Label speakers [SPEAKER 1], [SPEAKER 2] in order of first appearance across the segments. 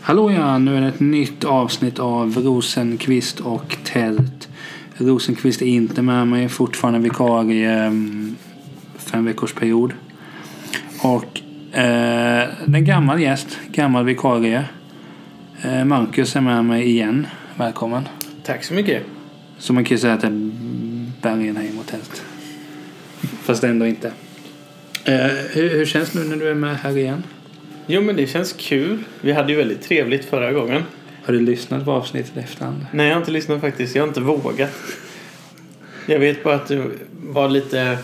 [SPEAKER 1] Hallå ja, nu är det ett nytt avsnitt av Rosenqvist och Tält. Rosenqvist är inte med mig, fortfarande vikarie mm, fem veckors period. Och eh, den gammal gäst, gammal vikarie. Eh, Marcus är med mig igen. Välkommen.
[SPEAKER 2] Tack så mycket.
[SPEAKER 1] Så man kan ju säga att det är Bergenheim och Tält. Fast ändå inte. Eh, hur, hur känns det nu när du är med här igen?
[SPEAKER 2] Jo men det känns kul. Vi hade ju väldigt trevligt förra gången.
[SPEAKER 1] Har du lyssnat på avsnittet i efterhand?
[SPEAKER 2] Nej jag har inte lyssnat faktiskt. Jag har inte vågat. Jag vet bara att du var lite...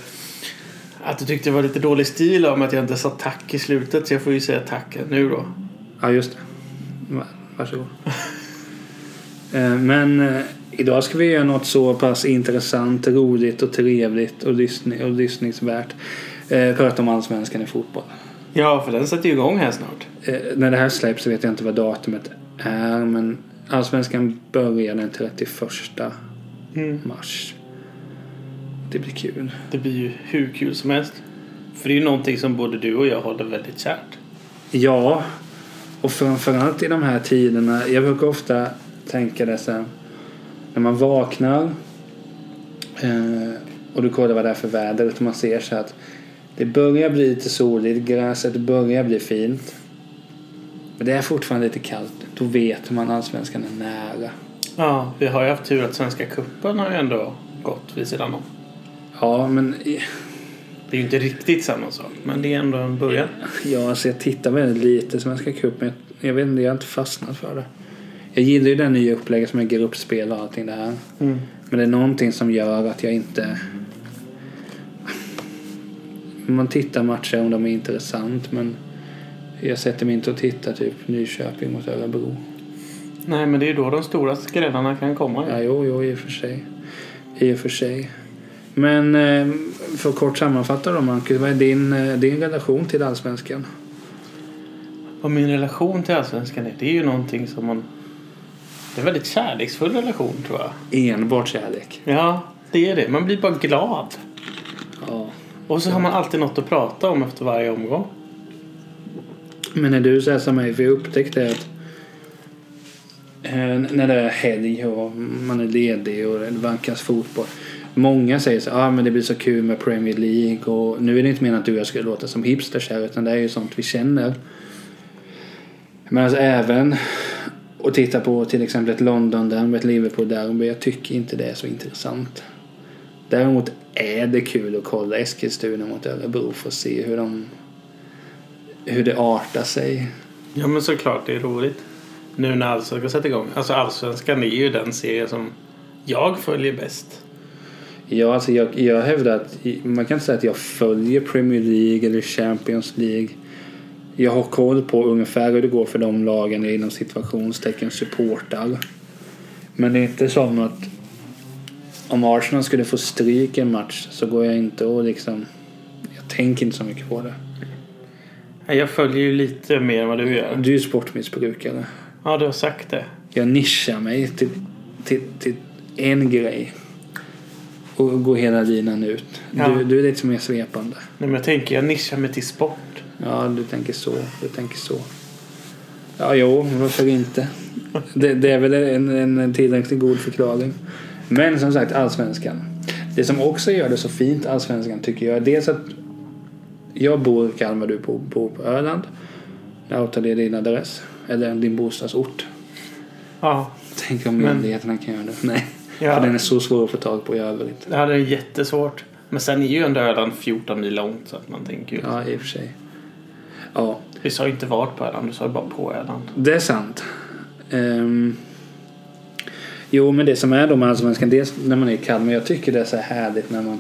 [SPEAKER 2] Att du tyckte det var lite dålig stil av mig att jag inte sa tack i slutet. Så jag får ju säga tack nu då.
[SPEAKER 1] Ja, just det. Va- Varsågod. Eh, Men eh, idag ska vi göra något så pass intressant, roligt och trevligt och, lyssning, och lyssningsvärt. Eh, Prata om allsvenskan i fotboll.
[SPEAKER 2] Ja för den sätter ju igång här snart.
[SPEAKER 1] Eh, När det här släpps så vet jag inte vad datumet är men allsvenskan börjar den 31 mars. Det blir kul.
[SPEAKER 2] Det blir ju hur kul som helst. För det är ju någonting som både du och jag håller väldigt kärt.
[SPEAKER 1] Ja, och framförallt i de här tiderna. Jag brukar ofta tänka det så här. När man vaknar eh, och du kollar vad det är för väder och man ser så här att det börjar bli lite soligt, gräset börjar bli fint. Men det är fortfarande lite kallt. Då vet man att allsvenskan är nära.
[SPEAKER 2] Ja, vi har ju haft tur att Svenska Cupen har ju ändå gått vid sidan om.
[SPEAKER 1] Ja, men i-
[SPEAKER 2] Det är ju inte riktigt samma sak, men det är ändå en början.
[SPEAKER 1] Ja, alltså jag tittar väldigt lite Svenska cupen. Jag- Jag vet inte, jag har inte fastnat för det. Jag gillar ju det här nya upplägget som är gruppspel och allting det här. Men det är någonting som gör att jag inte... Man tittar matcher om de är intressant men jag sätter mig inte och tittar typ Nyköping mot Örebro.
[SPEAKER 2] Nej, men det är ju då de stora skrällarna kan komma.
[SPEAKER 1] Ja, jo, jo, i och för sig. I och för sig. Men eh, för att kort sammanfatta då Marcus, vad är din, eh, din relation till Allsvenskan?
[SPEAKER 2] Och min relation till Allsvenskan är, det är ju någonting som man... Det är en väldigt kärleksfull relation tror jag.
[SPEAKER 1] Enbart kärlek.
[SPEAKER 2] Ja, det är det. Man blir bara glad.
[SPEAKER 1] Ja.
[SPEAKER 2] Och så har man alltid något att prata om efter varje omgång.
[SPEAKER 1] Men när du säger som mig, för jag upptäckte att eh, när det är helg och man är ledig och det vankas fotboll. Många säger så ah, men det blir så kul med Premier League och nu är det inte meningen att du och jag ska låta som hipsters här utan det är ju sånt vi känner. Men alltså även att titta på till exempel ett London-derby, ett Liverpool-derby. Jag tycker inte det är så intressant. Däremot är det kul att kolla Eskilstuna mot Örebro för att se hur de hur det artar sig.
[SPEAKER 2] Ja, men såklart det är roligt. Nu när Allsvenskan sätter igång. Alltså Allsvenskan är ju den serie som jag följer bäst.
[SPEAKER 1] Ja, alltså jag, jag hävdar att man kan inte säga att jag följer Premier League eller Champions League. Jag har koll på ungefär hur det går för de lagen jag inom situationstecken supportar. Men det är inte som att om Arsenal skulle få stryk i en match så går jag inte och liksom... Jag tänker inte så mycket på det.
[SPEAKER 2] Nej, Jag följer ju lite mer än vad du gör.
[SPEAKER 1] Du är ju sportmissbrukare.
[SPEAKER 2] Ja, du har sagt det.
[SPEAKER 1] Jag nischar mig till, till, till en grej. Och går hela linan ut.
[SPEAKER 2] Ja.
[SPEAKER 1] Du, du är lite mer svepande.
[SPEAKER 2] Nej, men jag tänker jag nischar mig till sport.
[SPEAKER 1] Ja, du tänker så. Du tänker så. Ja, jo, varför inte? Det, det är väl en, en tillräckligt god förklaring. Men som sagt, allsvenskan. Det som också gör det så fint, allsvenskan, tycker jag, är dels att jag bor i Kalmar, du bor, bor på Öland. Jag outar din adress, eller din bostadsort.
[SPEAKER 2] Ja,
[SPEAKER 1] Tänk om
[SPEAKER 2] Men-
[SPEAKER 1] myndigheterna kan göra det. Nej,
[SPEAKER 2] Ja.
[SPEAKER 1] för den är så svår att få tag på i övrigt.
[SPEAKER 2] det hade är jättesvårt. Men sen är ju ändå Öland 14 mil långt så att man tänker ju.
[SPEAKER 1] Ja, i och för sig. Ja,
[SPEAKER 2] Vi sa ju inte vart på Öland, vi sa ju bara på Öland.
[SPEAKER 1] Det är sant. Ehm, jo, men det som är då med Allsvenskan, dels när man är i Kalmar, jag tycker det är så härligt när man...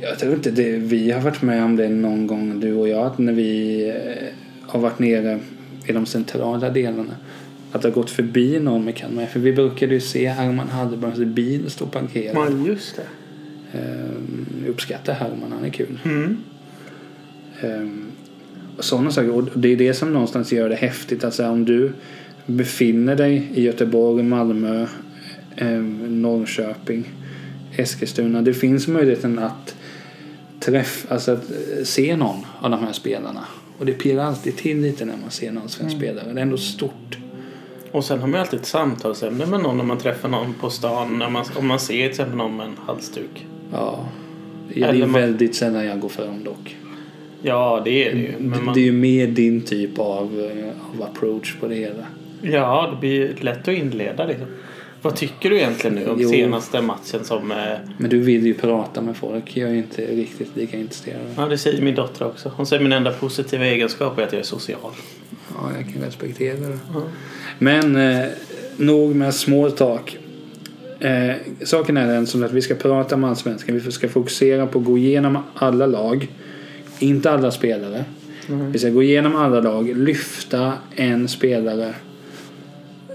[SPEAKER 1] Jag tror inte det, vi har varit med om det någon gång, du och jag, att när vi eh, har varit nere i de centrala delarna. Att det har gått förbi någon med Kalmar. För vi brukade ju se Herman Hallbergs bil stå parkerad.
[SPEAKER 2] Ja, just det.
[SPEAKER 1] Ehm, jag uppskattar Herman, han är kul.
[SPEAKER 2] Mm.
[SPEAKER 1] Ehm, och sådana saker. Och det är det som någonstans gör det häftigt. Alltså om du befinner dig i Göteborg, Malmö, ehm, Norrköping, Eskilstuna. Det finns möjligheten att träffa, alltså att eh, se någon av de här spelarna. Och det pirrar alltid till lite när man ser någon
[SPEAKER 2] Mm.
[SPEAKER 1] svensk spelare. Det är ändå stort.
[SPEAKER 2] Och sen har man ju alltid ett samtalsämne med någon när man träffar någon på stan. När man, om man ser till exempel någon med en halsduk.
[SPEAKER 1] Ja. Det är
[SPEAKER 2] Eller
[SPEAKER 1] ju
[SPEAKER 2] man-
[SPEAKER 1] väldigt sällan jag går för dem dock.
[SPEAKER 2] Ja, det är det ju.
[SPEAKER 1] Det,
[SPEAKER 2] Men man,
[SPEAKER 1] det är ju mer din typ av, eh, av approach på det hela.
[SPEAKER 2] Ja, det blir lätt att inleda liksom. Vad tycker du egentligen nu om
[SPEAKER 1] Jo.
[SPEAKER 2] senaste matchen som... eh,
[SPEAKER 1] Men du vill ju prata med folk. Jag är inte riktigt lika intresserad.
[SPEAKER 2] Ja, det säger min dotter också. Hon säger min enda positiva egenskap är att jag är social.
[SPEAKER 1] Ja, jag kan respektera det. Men eh, nog med small talk. Eh, saken är den som att vi ska prata om allsvenskan. Vi ska fokusera på att gå igenom alla lag. Inte alla spelare. Vi ska gå igenom alla lag. Lyfta en spelare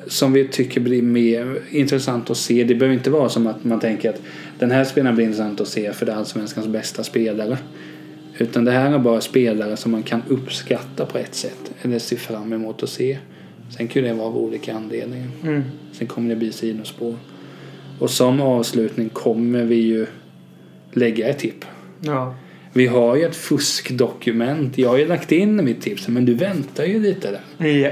[SPEAKER 1] som vi tycker blir mer intressant att se. Det behöver inte vara som att man tänker att den här spelaren blir intressant att se för det är allsvenskans bästa spelare. Utan det här är bara spelare som man kan uppskatta på ett sätt eller se fram emot att se. Sen kan ju det vara av olika anledningar.
[SPEAKER 2] Mm.
[SPEAKER 1] Sen kommer det bli sidospår. Och som avslutning kommer vi ju lägga ett tipp.
[SPEAKER 2] Ja.
[SPEAKER 1] Vi har ju ett fuskdokument. Jag har ju lagt in mitt tips men du väntar ju lite där.
[SPEAKER 2] Ja.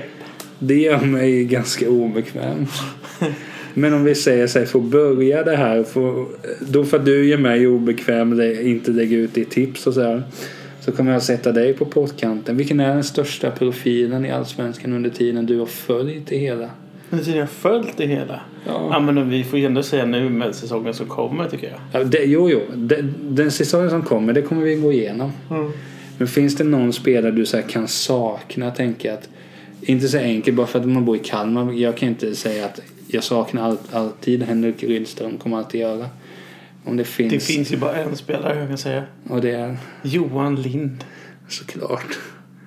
[SPEAKER 1] Det gör mig ganska obekväm. Men om vi säger så här, får börja det här. Får, då för att du gör mig obekväm lä- inte lägga ut ditt tips och så här. Så kommer jag sätta dig på pottkanten. Vilken är den största profilen i Allsvenskan under tiden du har följt det hela?
[SPEAKER 2] Men tydligen har jag följt det hela. Ja,
[SPEAKER 1] Ja.
[SPEAKER 2] men vi får ju ändå säga nu med säsongen som kommer tycker jag.
[SPEAKER 1] det, jo, jo. Den, den säsongen som kommer, det kommer vi gå igenom.
[SPEAKER 2] Mm.
[SPEAKER 1] Men finns det någon spelare du så här kan sakna? Tänka att, inte så enkelt bara för att man bor i Kalmar. Jag kan inte säga att jag saknar all, alltid Henrik Rydström. Kommer alltid göra. Om det finns.
[SPEAKER 2] Det finns ju bara en spelare jag kan säga.
[SPEAKER 1] Och det är
[SPEAKER 2] Johan Lind.
[SPEAKER 1] såklart.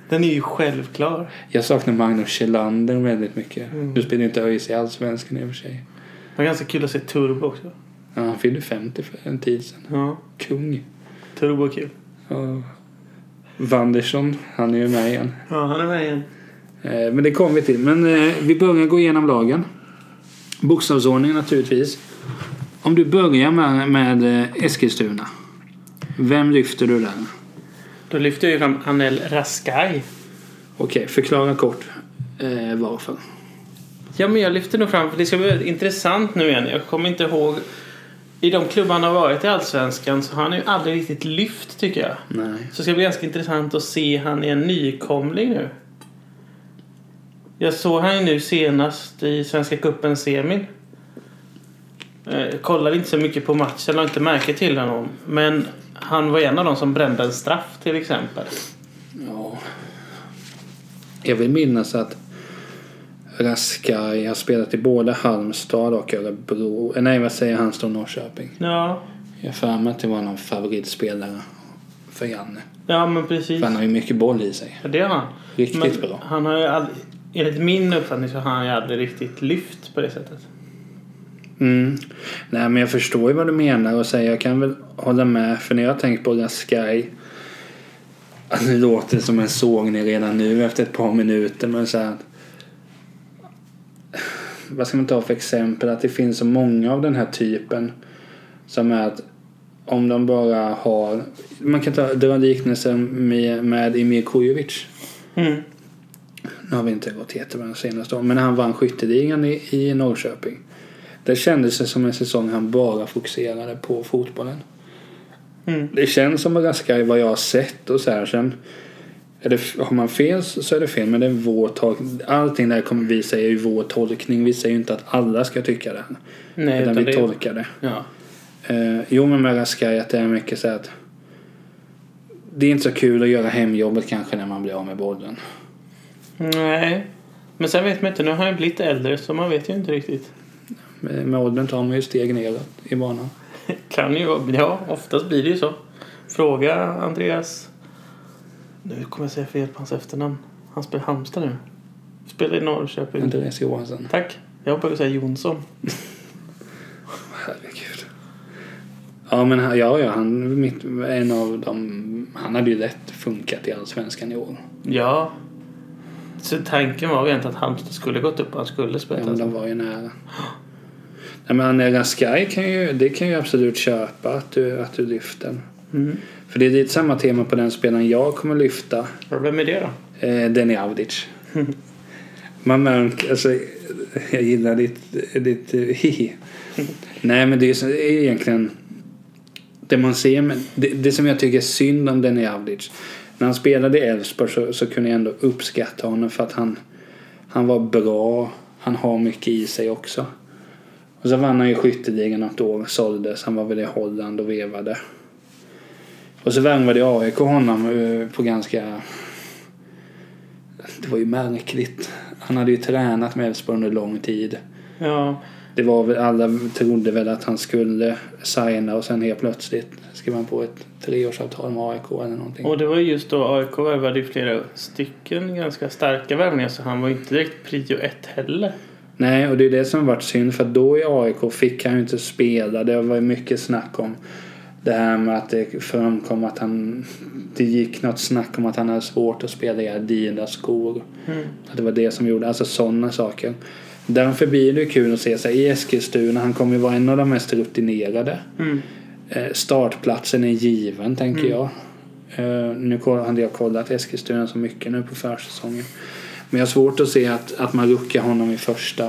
[SPEAKER 2] Den är ju självklar.
[SPEAKER 1] Jag saknar Magnus Kjellander väldigt mycket. Nu spelar inte ÖIS i Allsvenskan i och för sig.
[SPEAKER 2] Det var ganska kul att se Turbo också.
[SPEAKER 1] Ja, han fyllde 50 för en tid sedan.
[SPEAKER 2] Ja.
[SPEAKER 1] Kung.
[SPEAKER 2] Turbo är kul.
[SPEAKER 1] Ja. Wandersson, han är ju med igen.
[SPEAKER 2] Ja, han är med igen.
[SPEAKER 1] Eh, Men det kommer vi till. Men eh, vi börjar gå igenom lagen. Bokstavsordning naturligtvis. Om du börjar med, med eh, Eskilstuna. Vem lyfter du där?
[SPEAKER 2] Då lyfter jag ju fram Anel Raskaj.
[SPEAKER 1] Okej, förklara kort eh, varför.
[SPEAKER 2] Ja, men jag lyfter nog fram, för det ska bli väldigt intressant nu igen. Jag kommer inte ihåg. I de klubbar han har varit i Allsvenskan så har han ju aldrig riktigt lyft, tycker jag.
[SPEAKER 1] Nej.
[SPEAKER 2] Så det ska bli ganska intressant att se han är en nykomling nu. Jag såg han ju nu senast i Svenska cupen semin. Eh, kollade inte så mycket på matchen, lade inte märke till honom. Men han var en av de som brände en straff till exempel.
[SPEAKER 1] Ja. Jag vill minnas att Raskaj har spelat i både Halmstad och Örebro. Eh, Nej, vad säger jag? Halmstad och Norrköping.
[SPEAKER 2] Ja,
[SPEAKER 1] Jag har för mig att det var någon favoritspelare för Janne.
[SPEAKER 2] ja men precis.
[SPEAKER 1] För han har ju mycket boll i sig.
[SPEAKER 2] Ja, det har han.
[SPEAKER 1] Riktigt
[SPEAKER 2] men
[SPEAKER 1] bra.
[SPEAKER 2] Han har ju aldrig, enligt min uppfattning så har han ju aldrig riktigt lyft på det sättet.
[SPEAKER 1] Mm. Nej, men jag förstår ju vad du menar och säger jag kan väl hålla med. För när jag har tänkt på Raskaj. Att alltså, det låter som en sågning redan nu efter ett par minuter. Men så här, att- vad ska man ta för exempel? Att det finns så många av den här typen. Som är att om de bara har. Man kan ta, dra liknelsen med, med Emir Kujovic.
[SPEAKER 2] Mm.
[SPEAKER 1] Nu har vi inte gått jättebra de senaste åren, men när han vann skytteligan i, i Norrköping. Det kändes det som en säsong han bara fokuserade på fotbollen.
[SPEAKER 2] Mm.
[SPEAKER 1] Det känns som Raskaj vad jag har sett och så här sen. Är det, har man fel så så är det fel, men det är vår tolkning. Allting där kommer vi säger är ju vår tolkning. Vi säger ju inte att alla ska tycka det. här,
[SPEAKER 2] Nej,
[SPEAKER 1] utan vi
[SPEAKER 2] utan det,
[SPEAKER 1] tolkar det.
[SPEAKER 2] ja.
[SPEAKER 1] Eh, jo, men med Raskaj att det är mycket så här att det är inte så kul att göra hemjobbet kanske när man blir av med bollen.
[SPEAKER 2] Nej. Men sen vet man inte, nu har han ju blivit äldre så man vet ju inte riktigt.
[SPEAKER 1] Eh, Med med åldern tar man ju steg neråt i banan.
[SPEAKER 2] Kan ju vara- ja oftast blir det ju så. Fråga Andreas. Nu kommer jag säga fel på hans efternamn. Han spelar i Halmstad nu. Spelar i Norrköping.
[SPEAKER 1] Andreas Johansson.
[SPEAKER 2] Tack. Jag börjar säga Jonsson.
[SPEAKER 1] Herregud. Ja, men han- ja, ja, han, mitt, en av dem, han hade ju lätt funkat i Allsvenskan i år.
[SPEAKER 2] Ja. Så tanken var ju egentligen att Halmstad skulle gått upp och han skulle
[SPEAKER 1] Ja,
[SPEAKER 2] spela.
[SPEAKER 1] men de var ju nära. Nej, men Raskaj kan ju, det kan ju absolut köpa att du, att du lyfter.
[SPEAKER 2] Mm.
[SPEAKER 1] För det är lite samma tema på den spelaren jag kommer lyfta.
[SPEAKER 2] Ja, Vem är det då?
[SPEAKER 1] Eh, Denny Audic. Man märker, alltså, jag gillar ditt, ditt eh, hihi. Nej men det är, så- det är egentligen det man ser, men det, det som jag tycker är synd om Denny Audic. När han spelade i Elfsborg så, så kunde jag ändå uppskatta honom för att han, han var bra. Han har mycket i sig också. Och så vann han ju skytteligan något år, såldes. Han var väl i Holland och vevade. Och så värvade AIK honom eh, på ganska det var ju märkligt. Han hade ju tränat med Elfsborg under lång tid.
[SPEAKER 2] Ja,
[SPEAKER 1] Det var väl, alla trodde väl att han skulle signa och sen helt plötsligt skrev han på ett treårsavtal med AIK eller någonting.
[SPEAKER 2] och det var ju just då AIK värvade ju flera stycken ganska starka värvningar så han var ju inte direkt prio ett heller.
[SPEAKER 1] Nej, och det är det som varit synd för då i AIK fick han ju inte spela. Det var ju mycket snack om det här med att det framkom att han... Det gick något snack om att han hade svårt att spela i Adidas-skor.
[SPEAKER 2] Mm.
[SPEAKER 1] Att det var det som gjorde, alltså sådana saker. Därför blir det ju kul att se sig i Eskilstuna. Han kommer ju vara en av de mest rutinerade.
[SPEAKER 2] Mm.
[SPEAKER 1] Eh, startplatsen är given, tänker jag. Eh, nu koll- hade jag kollat Eskilstuna så mycket nu på försäsongen. Men jag har svårt att se att, att man ruckar honom i första,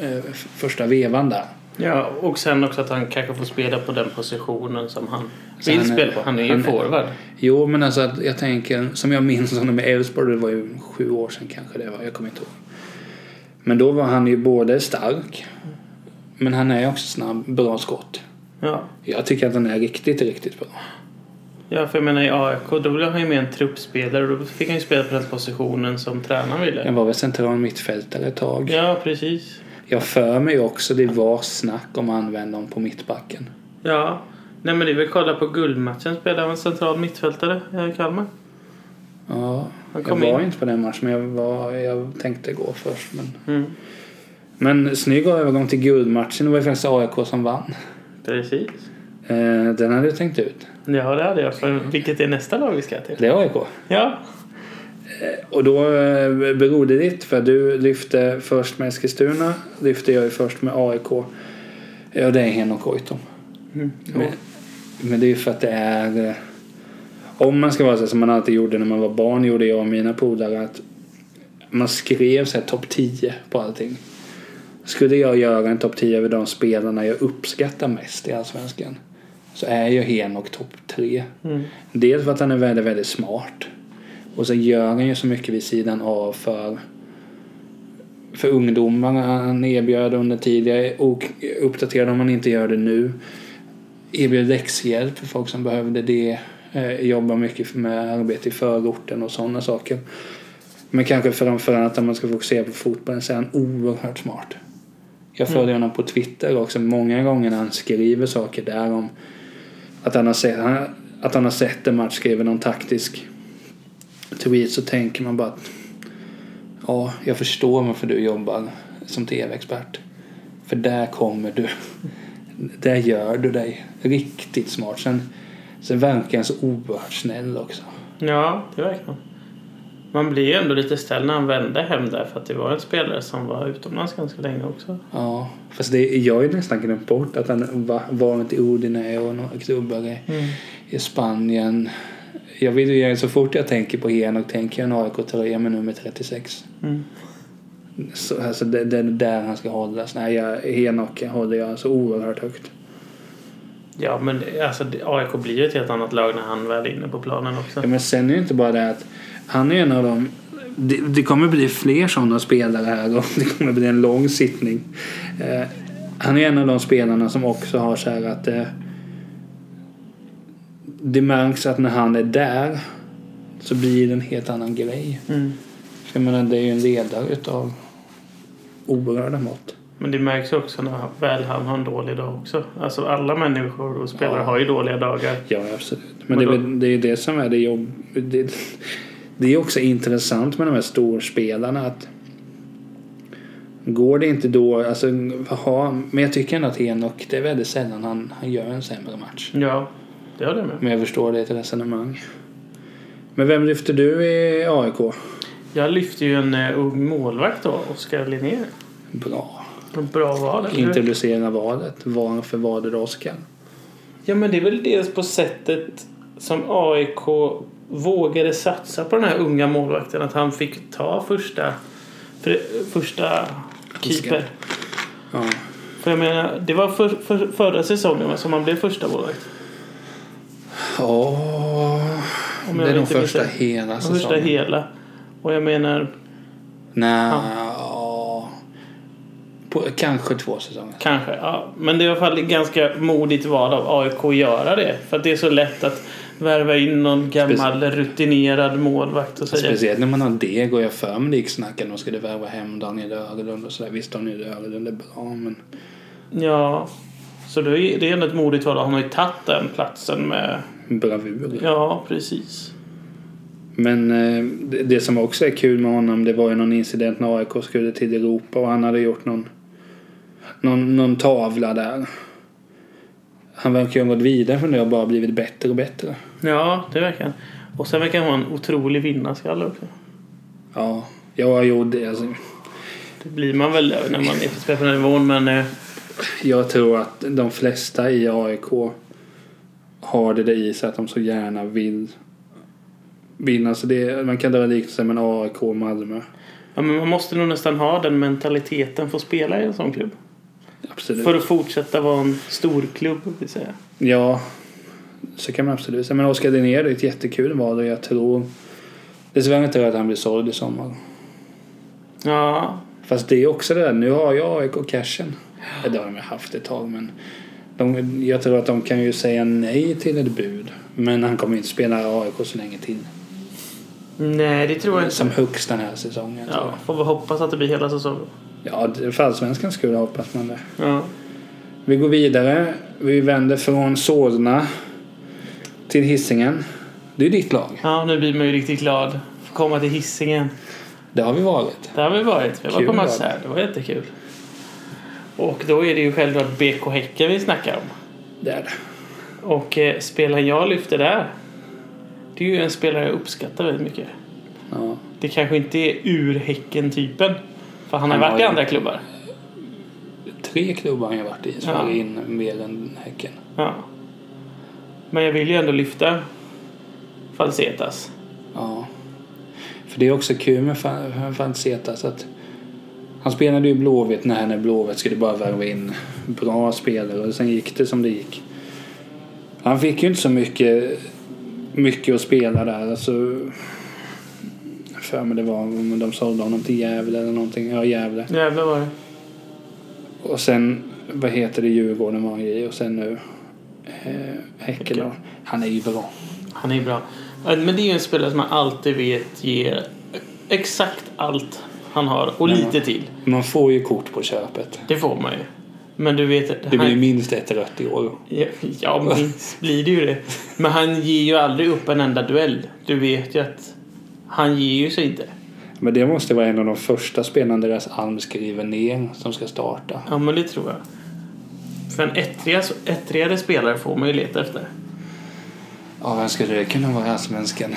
[SPEAKER 1] eh, f- första vevan där.
[SPEAKER 2] Ja, och sen också att han kanske får spela på den positionen som han
[SPEAKER 1] Så
[SPEAKER 2] vill
[SPEAKER 1] han är-
[SPEAKER 2] spela på. Han är ju
[SPEAKER 1] han är-
[SPEAKER 2] forward.
[SPEAKER 1] Jo, men alltså att jag tänker, som jag minns honom i Elfsborg, det var ju sju år sedan kanske det var, jag kommer inte ihåg. Men då var han ju både stark, men han är också snabb, bra skott.
[SPEAKER 2] Ja.
[SPEAKER 1] Jag tycker att han är riktigt, riktigt bra.
[SPEAKER 2] ja, för jag menar i AIK då blev han ju med en truppspelare och då fick han ju spela på den positionen som tränaren ville.
[SPEAKER 1] Han var väl central mittfältare ett tag.
[SPEAKER 2] Ja, precis.
[SPEAKER 1] Jag för mig också det var snack om att använda honom på mittbacken.
[SPEAKER 2] Ja. Nej men det är väl kolla på guldmatchen spelade han central mittfältare här i Kalmar.
[SPEAKER 1] Ja,
[SPEAKER 2] Han
[SPEAKER 1] jag
[SPEAKER 2] kom
[SPEAKER 1] var
[SPEAKER 2] in.
[SPEAKER 1] inte på den matchen men jag, var, jag tänkte gå först. Men,
[SPEAKER 2] Mm.
[SPEAKER 1] men snygg övergång till guldmatchen. Det var ju faktiskt AIK som vann.
[SPEAKER 2] Precis.
[SPEAKER 1] Eh, den hade jag tänkt ut.
[SPEAKER 2] Ja, det hade jag. För vilket är nästa lag vi ska till?
[SPEAKER 1] Det är AIK.
[SPEAKER 2] Ja.
[SPEAKER 1] Och då eh, beror det ditt för du lyfte först med Eskilstuna. Lyfte jag ju först med AIK. Ja, och det är Henok Goitom.
[SPEAKER 2] Mm.
[SPEAKER 1] Men, men det är ju för att det är... eh, Om man ska vara så här som man alltid gjorde när man var barn, gjorde jag och mina polare att man skrev så här topp 10 på allting. Skulle jag göra en topp 10 över de spelarna jag uppskattar mest i Allsvenskan så är ju Henok topp 3.
[SPEAKER 2] Mm.
[SPEAKER 1] Dels för att han är väldigt, väldigt smart. Och så gör han ju så mycket vid sidan av för, för ungdomarna. Han erbjöd under tidigare och uppdaterade om han inte gör det nu. Erbjöd läxhjälp för folk som behövde det. Eh, jobbar mycket med arbete i förorten och sådana saker. Men kanske framförallt om man ska fokusera på fotbollen så är han oerhört smart. Jag följer honom på Twitter också. Många gånger när han skriver saker där om att han har sett, han, att han har sett en match, skriver någon taktisk tweet så tänker man bara att ja, jag förstår varför du jobbar som tv-expert. För där kommer du. Där gör du dig. Riktigt smart. Sen, sen verkar han så oerhört snäll också.
[SPEAKER 2] Ja, det verkar han. Man blir ju ändå lite ställd när han vände hem där för att det var en spelare som var utomlands ganska länge också.
[SPEAKER 1] Ja, fast det, jag har ju nästan glömt bort att han var, varit i Udinese och några klubbar i, i Spanien. Jag vill ju, så fort jag tänker på Henok tänker jag en AIK-tröja med nummer 36.
[SPEAKER 2] Mm.
[SPEAKER 1] Så, alltså det, det är där han ska hållas. Nej, jag, Henok håller jag så oerhört högt.
[SPEAKER 2] Ja, men det- alltså, det- AIK blir ju ett helt annat lag när han väl är inne på planen också.
[SPEAKER 1] Ja, men sen är det inte bara det att han är en av dem. Det, det kommer bli fler sådana spelare här och det kommer bli en lång sittning. Eh, han är en av de spelarna som också har så här att eh, det märks att när han är där så blir det en helt annan grej.
[SPEAKER 2] Mm.
[SPEAKER 1] För jag menar, det är ju en ledare utav oerhörda mått.
[SPEAKER 2] Men det märks ju också när han- väl han har en dålig dag också. Alltså alla människor och spelare
[SPEAKER 1] Ja.
[SPEAKER 2] har ju dåliga dagar.
[SPEAKER 1] Ja, absolut. Men,
[SPEAKER 2] Men
[SPEAKER 1] det, är
[SPEAKER 2] då-
[SPEAKER 1] väl- det är det som är det jobb... Det, det är också intressant med de här storspelarna att går det inte då, alltså ha, men jag tycker ändå att Henok, det är väldigt sällan han, han gör en sämre match.
[SPEAKER 2] Ja, det håller jag med.
[SPEAKER 1] Men jag förstår det till resonemang. Men vem lyfter du i AIK?
[SPEAKER 2] Jag lyfte ju en eh, ung målvakt då, Oskar Linnér.
[SPEAKER 1] Bra.
[SPEAKER 2] En Bra val, eller hur?
[SPEAKER 1] Introducera valet. Varför var det då Oskar?
[SPEAKER 2] Ja, men det är väl dels på sättet som AIK vågade satsa på den här unga målvakten. Att han fick ta första, för, första keeper.
[SPEAKER 1] Ja.
[SPEAKER 2] För jag menar, det var för, för, förra säsongen som han blev första målvakt.
[SPEAKER 1] Ja.
[SPEAKER 2] Om
[SPEAKER 1] Det
[SPEAKER 2] jag
[SPEAKER 1] är nog
[SPEAKER 2] inte minns
[SPEAKER 1] första
[SPEAKER 2] rätt.
[SPEAKER 1] hela säsongen.
[SPEAKER 2] Första hela. Och jag menar,
[SPEAKER 1] Nej, ja. På, kanske två säsonger.
[SPEAKER 2] Kanske, ja. Men det är i alla fall ett ganska modigt val av AIK att göra det. För att det är så lätt att värva in någon gammal rutinerad målvakt och säga
[SPEAKER 1] Speciellt när man har Dego. Jag för mig det gick snack att de skulle värva hem Daniel Öhrlund och sådär. Visst, Daniel Öhrlund är bra, men...
[SPEAKER 2] Ja. Så det är det är ändå ett modigt val. Han har ju tagit den platsen med...
[SPEAKER 1] Bravur.
[SPEAKER 2] Ja, precis.
[SPEAKER 1] Men eh, det- det som också är kul med honom det var ju någon incident när AIK skulle till Europa och han hade gjort någon, någon, någon tavla där. Han verkar ju ha gått vidare från det och bara blivit bättre och bättre.
[SPEAKER 2] Ja, det verkar han. Och sen verkar han ha en otrolig vinnarskalle också.
[SPEAKER 1] Ja, jag gjorde alltså,
[SPEAKER 2] Det blir man väl när man är på den här nivån, men... eh,
[SPEAKER 1] Jag tror att de flesta i AIK har det där i sig att de så gärna vill vinna. Alltså det, man kan dra liknelsen med en AIK och Malmö.
[SPEAKER 2] Ja, men man måste nog nästan ha den mentaliteten för att spela i en sån klubb.
[SPEAKER 1] Absolut.
[SPEAKER 2] För att fortsätta vara en stor klubb, vill säga.
[SPEAKER 1] Ja, så kan man absolut säga. Men Oskar Linnér är ett jättekul val och jag tror dessvärre inte att han blir såld i sommar.
[SPEAKER 2] Ja,
[SPEAKER 1] Fast det är också det där, nu har jag AIK cashen. Ja, Det har de ju haft ett tag men de, jag tror att de kan ju säga nej till ett bud. Men han kommer inte spela i AIK så länge till.
[SPEAKER 2] Nej, det tror jag inte.
[SPEAKER 1] Som högst den här säsongen. tror jag.
[SPEAKER 2] Ja, får vi hoppas att det blir hela säsongen.
[SPEAKER 1] Ja, det- för allsvenskans skull hoppas man det.
[SPEAKER 2] Ja.
[SPEAKER 1] Vi går vidare. Vi vänder från Solna till Hisingen. Det är ju ditt lag.
[SPEAKER 2] ja, nu blir man ju riktigt glad. Får komma till Hisingen.
[SPEAKER 1] Det har vi varit.
[SPEAKER 2] Där har vi varit. Vi var
[SPEAKER 1] Kul
[SPEAKER 2] på
[SPEAKER 1] var
[SPEAKER 2] match
[SPEAKER 1] det.
[SPEAKER 2] här. Det var jättekul. Och då är det ju självklart BK Häcken vi snackar om.
[SPEAKER 1] Det är det.
[SPEAKER 2] Och eh, spelaren jag lyfter där. Det är ju en spelare jag uppskattar väldigt mycket.
[SPEAKER 1] Ja.
[SPEAKER 2] Det kanske inte är ur Häcken-typen. För han har
[SPEAKER 1] Han har
[SPEAKER 2] varit i
[SPEAKER 1] ju-
[SPEAKER 2] andra klubbar.
[SPEAKER 1] Tre klubbar har jag varit i som
[SPEAKER 2] Ja.
[SPEAKER 1] är in mer än Häcken.
[SPEAKER 2] Ja. Men jag vill ju ändå lyfta Falsetas.
[SPEAKER 1] Ja. För det är också kul med Fa- Fanzeta så att han spelade ju i Blåvitt när han i Blåvitt skulle bara värva in bra spelare och sen gick det som det gick. Han fick ju inte så mycket, mycket att spela där. Alltså, för mig det var om de sålde honom till Gävle eller någonting. Ja, Gävle.
[SPEAKER 2] Jävlar var det.
[SPEAKER 1] Och sen, vad heter det, Djurgården var han i och sen nu eh, Häcken. då. Han är ju bra.
[SPEAKER 2] Han är bra. Men det är ju en spelare som man alltid vet ger exakt allt han har och
[SPEAKER 1] Ja.
[SPEAKER 2] lite till.
[SPEAKER 1] Man får ju kort på köpet.
[SPEAKER 2] Det får man ju. Men du vet att
[SPEAKER 1] Det blir ju
[SPEAKER 2] han,
[SPEAKER 1] minst ett rött i år.
[SPEAKER 2] Ja, ja, minst blir det ju det. Men han ger ju aldrig upp en enda duell. Du vet ju att han ger ju sig inte.
[SPEAKER 1] Men det måste vara en av de första spelarna deras alm skriver ner som ska starta.
[SPEAKER 2] Ja, men det tror jag. För en ettriga, ettrigare spelare får man ju leta efter.
[SPEAKER 1] Ja, vem skulle det kunna vara i allsvenskan?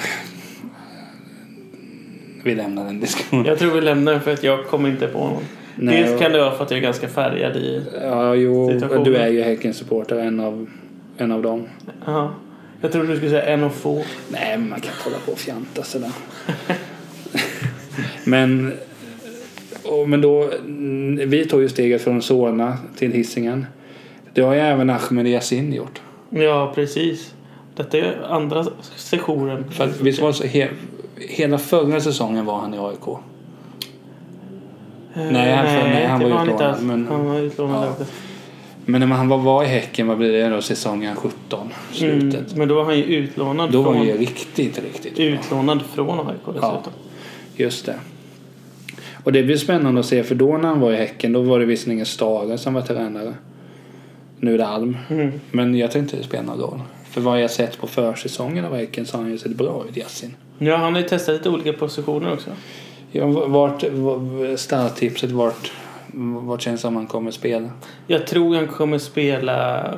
[SPEAKER 1] Vi lämnar den diskussionen.
[SPEAKER 2] Jag tror vi lämnar den för att jag kommer inte på någon.
[SPEAKER 1] Nej,
[SPEAKER 2] Dels
[SPEAKER 1] och-
[SPEAKER 2] kan det vara för att jag är ganska färgad i...
[SPEAKER 1] Ja, jo,
[SPEAKER 2] Situationen.
[SPEAKER 1] du är ju Häckens supporter, en av, en av dem.
[SPEAKER 2] Ja. Jag trodde du skulle säga en och få.
[SPEAKER 1] Nej, men man kan inte hålla på och fjanta sådär. men, och, men då, mm, vi tog ju steget från Solna till Hisingen. Det har ju även Ahmed Yasin gjort.
[SPEAKER 2] Ja, precis. Detta är andra sessionen.
[SPEAKER 1] För att, visst var det så, he, hela förra säsongen var han i AIK?
[SPEAKER 2] Eh,
[SPEAKER 1] Nej, han- nej, han
[SPEAKER 2] det
[SPEAKER 1] var
[SPEAKER 2] inte
[SPEAKER 1] utlånad,
[SPEAKER 2] alls.
[SPEAKER 1] men-
[SPEAKER 2] Han var utlånad.
[SPEAKER 1] Ja.
[SPEAKER 2] också.
[SPEAKER 1] Men när han var, var i Häcken, vad blir det då? Säsongen 17? Slutet.
[SPEAKER 2] Mm, men då var han ju utlånad
[SPEAKER 1] Då var
[SPEAKER 2] från... Mm.
[SPEAKER 1] han ju riktigt, riktigt bra.
[SPEAKER 2] Utlånad från AIK dessutom.
[SPEAKER 1] Just det. Och det blir spännande att se för då när han var i Häcken då var det visserligen Stare som var tränare. Nu är det Alm.
[SPEAKER 2] Mm.
[SPEAKER 1] Men jag tror inte det spelar någon roll. För vad jag sett på försäsongen av Häcken så har han ju sett bra ut, Yasin.
[SPEAKER 2] Ja, han har ju testat lite olika positioner också.
[SPEAKER 1] Ja, vart, vart, starttipset, vart, vart känns det som han kommer spela?
[SPEAKER 2] Jag tror han kommer spela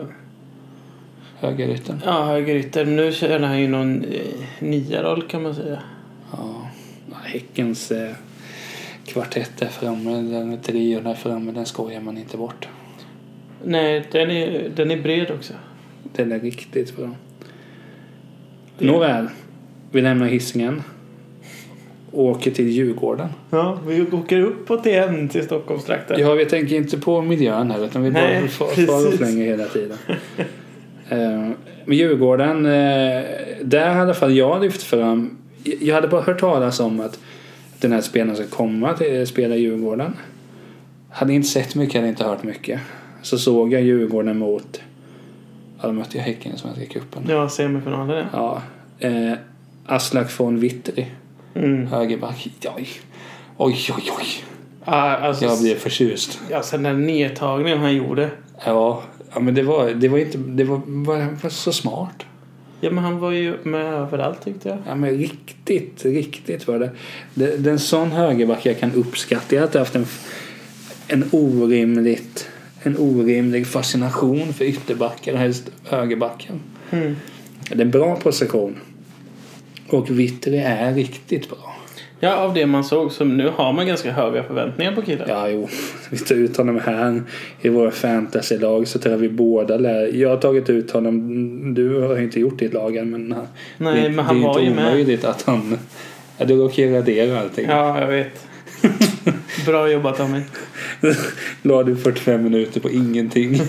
[SPEAKER 1] Högerytten?
[SPEAKER 2] ja, högerytter. Men nu kör han ju någon eh, niaroll kan man säga.
[SPEAKER 1] Ja. Häckens eh, kvartett där framme, den trion där framme, den skojar man inte bort.
[SPEAKER 2] Nej, den är, den är bred också.
[SPEAKER 1] Den är riktigt bra. Nåväl. Vi lämnar Hisingen. Åker till Djurgården.
[SPEAKER 2] Ja, vi åker uppåt igen till Stockholmstrakten.
[SPEAKER 1] Ja, vi tänker inte på miljön här utan vi
[SPEAKER 2] Nej,
[SPEAKER 1] bara far-
[SPEAKER 2] precis.
[SPEAKER 1] far och flänger hela tiden. Eh, Men Djurgården, eh, där hade i alla fall jag lyft fram. Jag hade bara hört talas om att den här spelaren ska komma till spela i Djurgården. Hade inte sett mycket, hade inte hört mycket. Så såg jag Djurgården mot, ja då mötte jag Häcken i Svenska cupen.
[SPEAKER 2] Ja, semifinalen
[SPEAKER 1] Ja, eh, Aslak von Wittry,
[SPEAKER 2] ja. Mm.
[SPEAKER 1] högerback. Oj, oj, oj, oj.
[SPEAKER 2] Ah, alltså,
[SPEAKER 1] Jag blev förtjust.
[SPEAKER 2] Alltså den där nedtagningen han gjorde.
[SPEAKER 1] Ja, ja men det var, det var inte det var, var, var så smart.
[SPEAKER 2] Ja, men han var ju med överallt tyckte jag.
[SPEAKER 1] Ja, men riktigt, riktigt var det. Det, det är en sån högerback jag kan uppskatta. Jag har alltid haft en, en, orimligt, en orimlig fascination för ytterbacken och helst högerbacken.
[SPEAKER 2] Mm.
[SPEAKER 1] Det är en bra position. Och Witry är riktigt bra.
[SPEAKER 2] Ja, av det man såg så nu har man ganska höga förväntningar på killen.
[SPEAKER 1] Ja, jo. Vi tar ut honom här i våra fantasylag så tror jag vi båda lär. Jag har tagit ut honom. Du har ju inte gjort ditt lag än, men
[SPEAKER 2] Nej,
[SPEAKER 1] det,
[SPEAKER 2] men han
[SPEAKER 1] det är
[SPEAKER 2] var ju
[SPEAKER 1] inte
[SPEAKER 2] med.
[SPEAKER 1] omöjligt att han... Ja, du råkar ju radera allting.
[SPEAKER 2] Ja, jag vet. Bra jobbat Tommy.
[SPEAKER 1] La du 45 minuter på ingenting.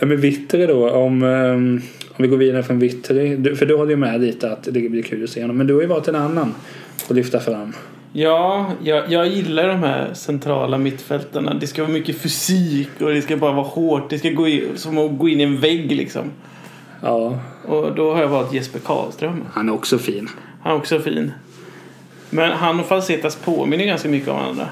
[SPEAKER 1] Ja, men Wittre då, om, ehm, om vi går vidare från Wittre. Du, för du håller ju med lite att det blir kul att se honom. Men du har ju varit en annan att lyfta fram.
[SPEAKER 2] Ja, jag, jag gillar de här centrala mittfältarna. Det ska vara mycket fysik och det ska bara vara hårt. Det ska gå i, som att gå in i en vägg liksom.
[SPEAKER 1] Ja,
[SPEAKER 2] Och då har jag valt Jesper Karlström.
[SPEAKER 1] han är också fin.
[SPEAKER 2] Han är också fin. Men han och Falsetas påminner ganska mycket om varandra.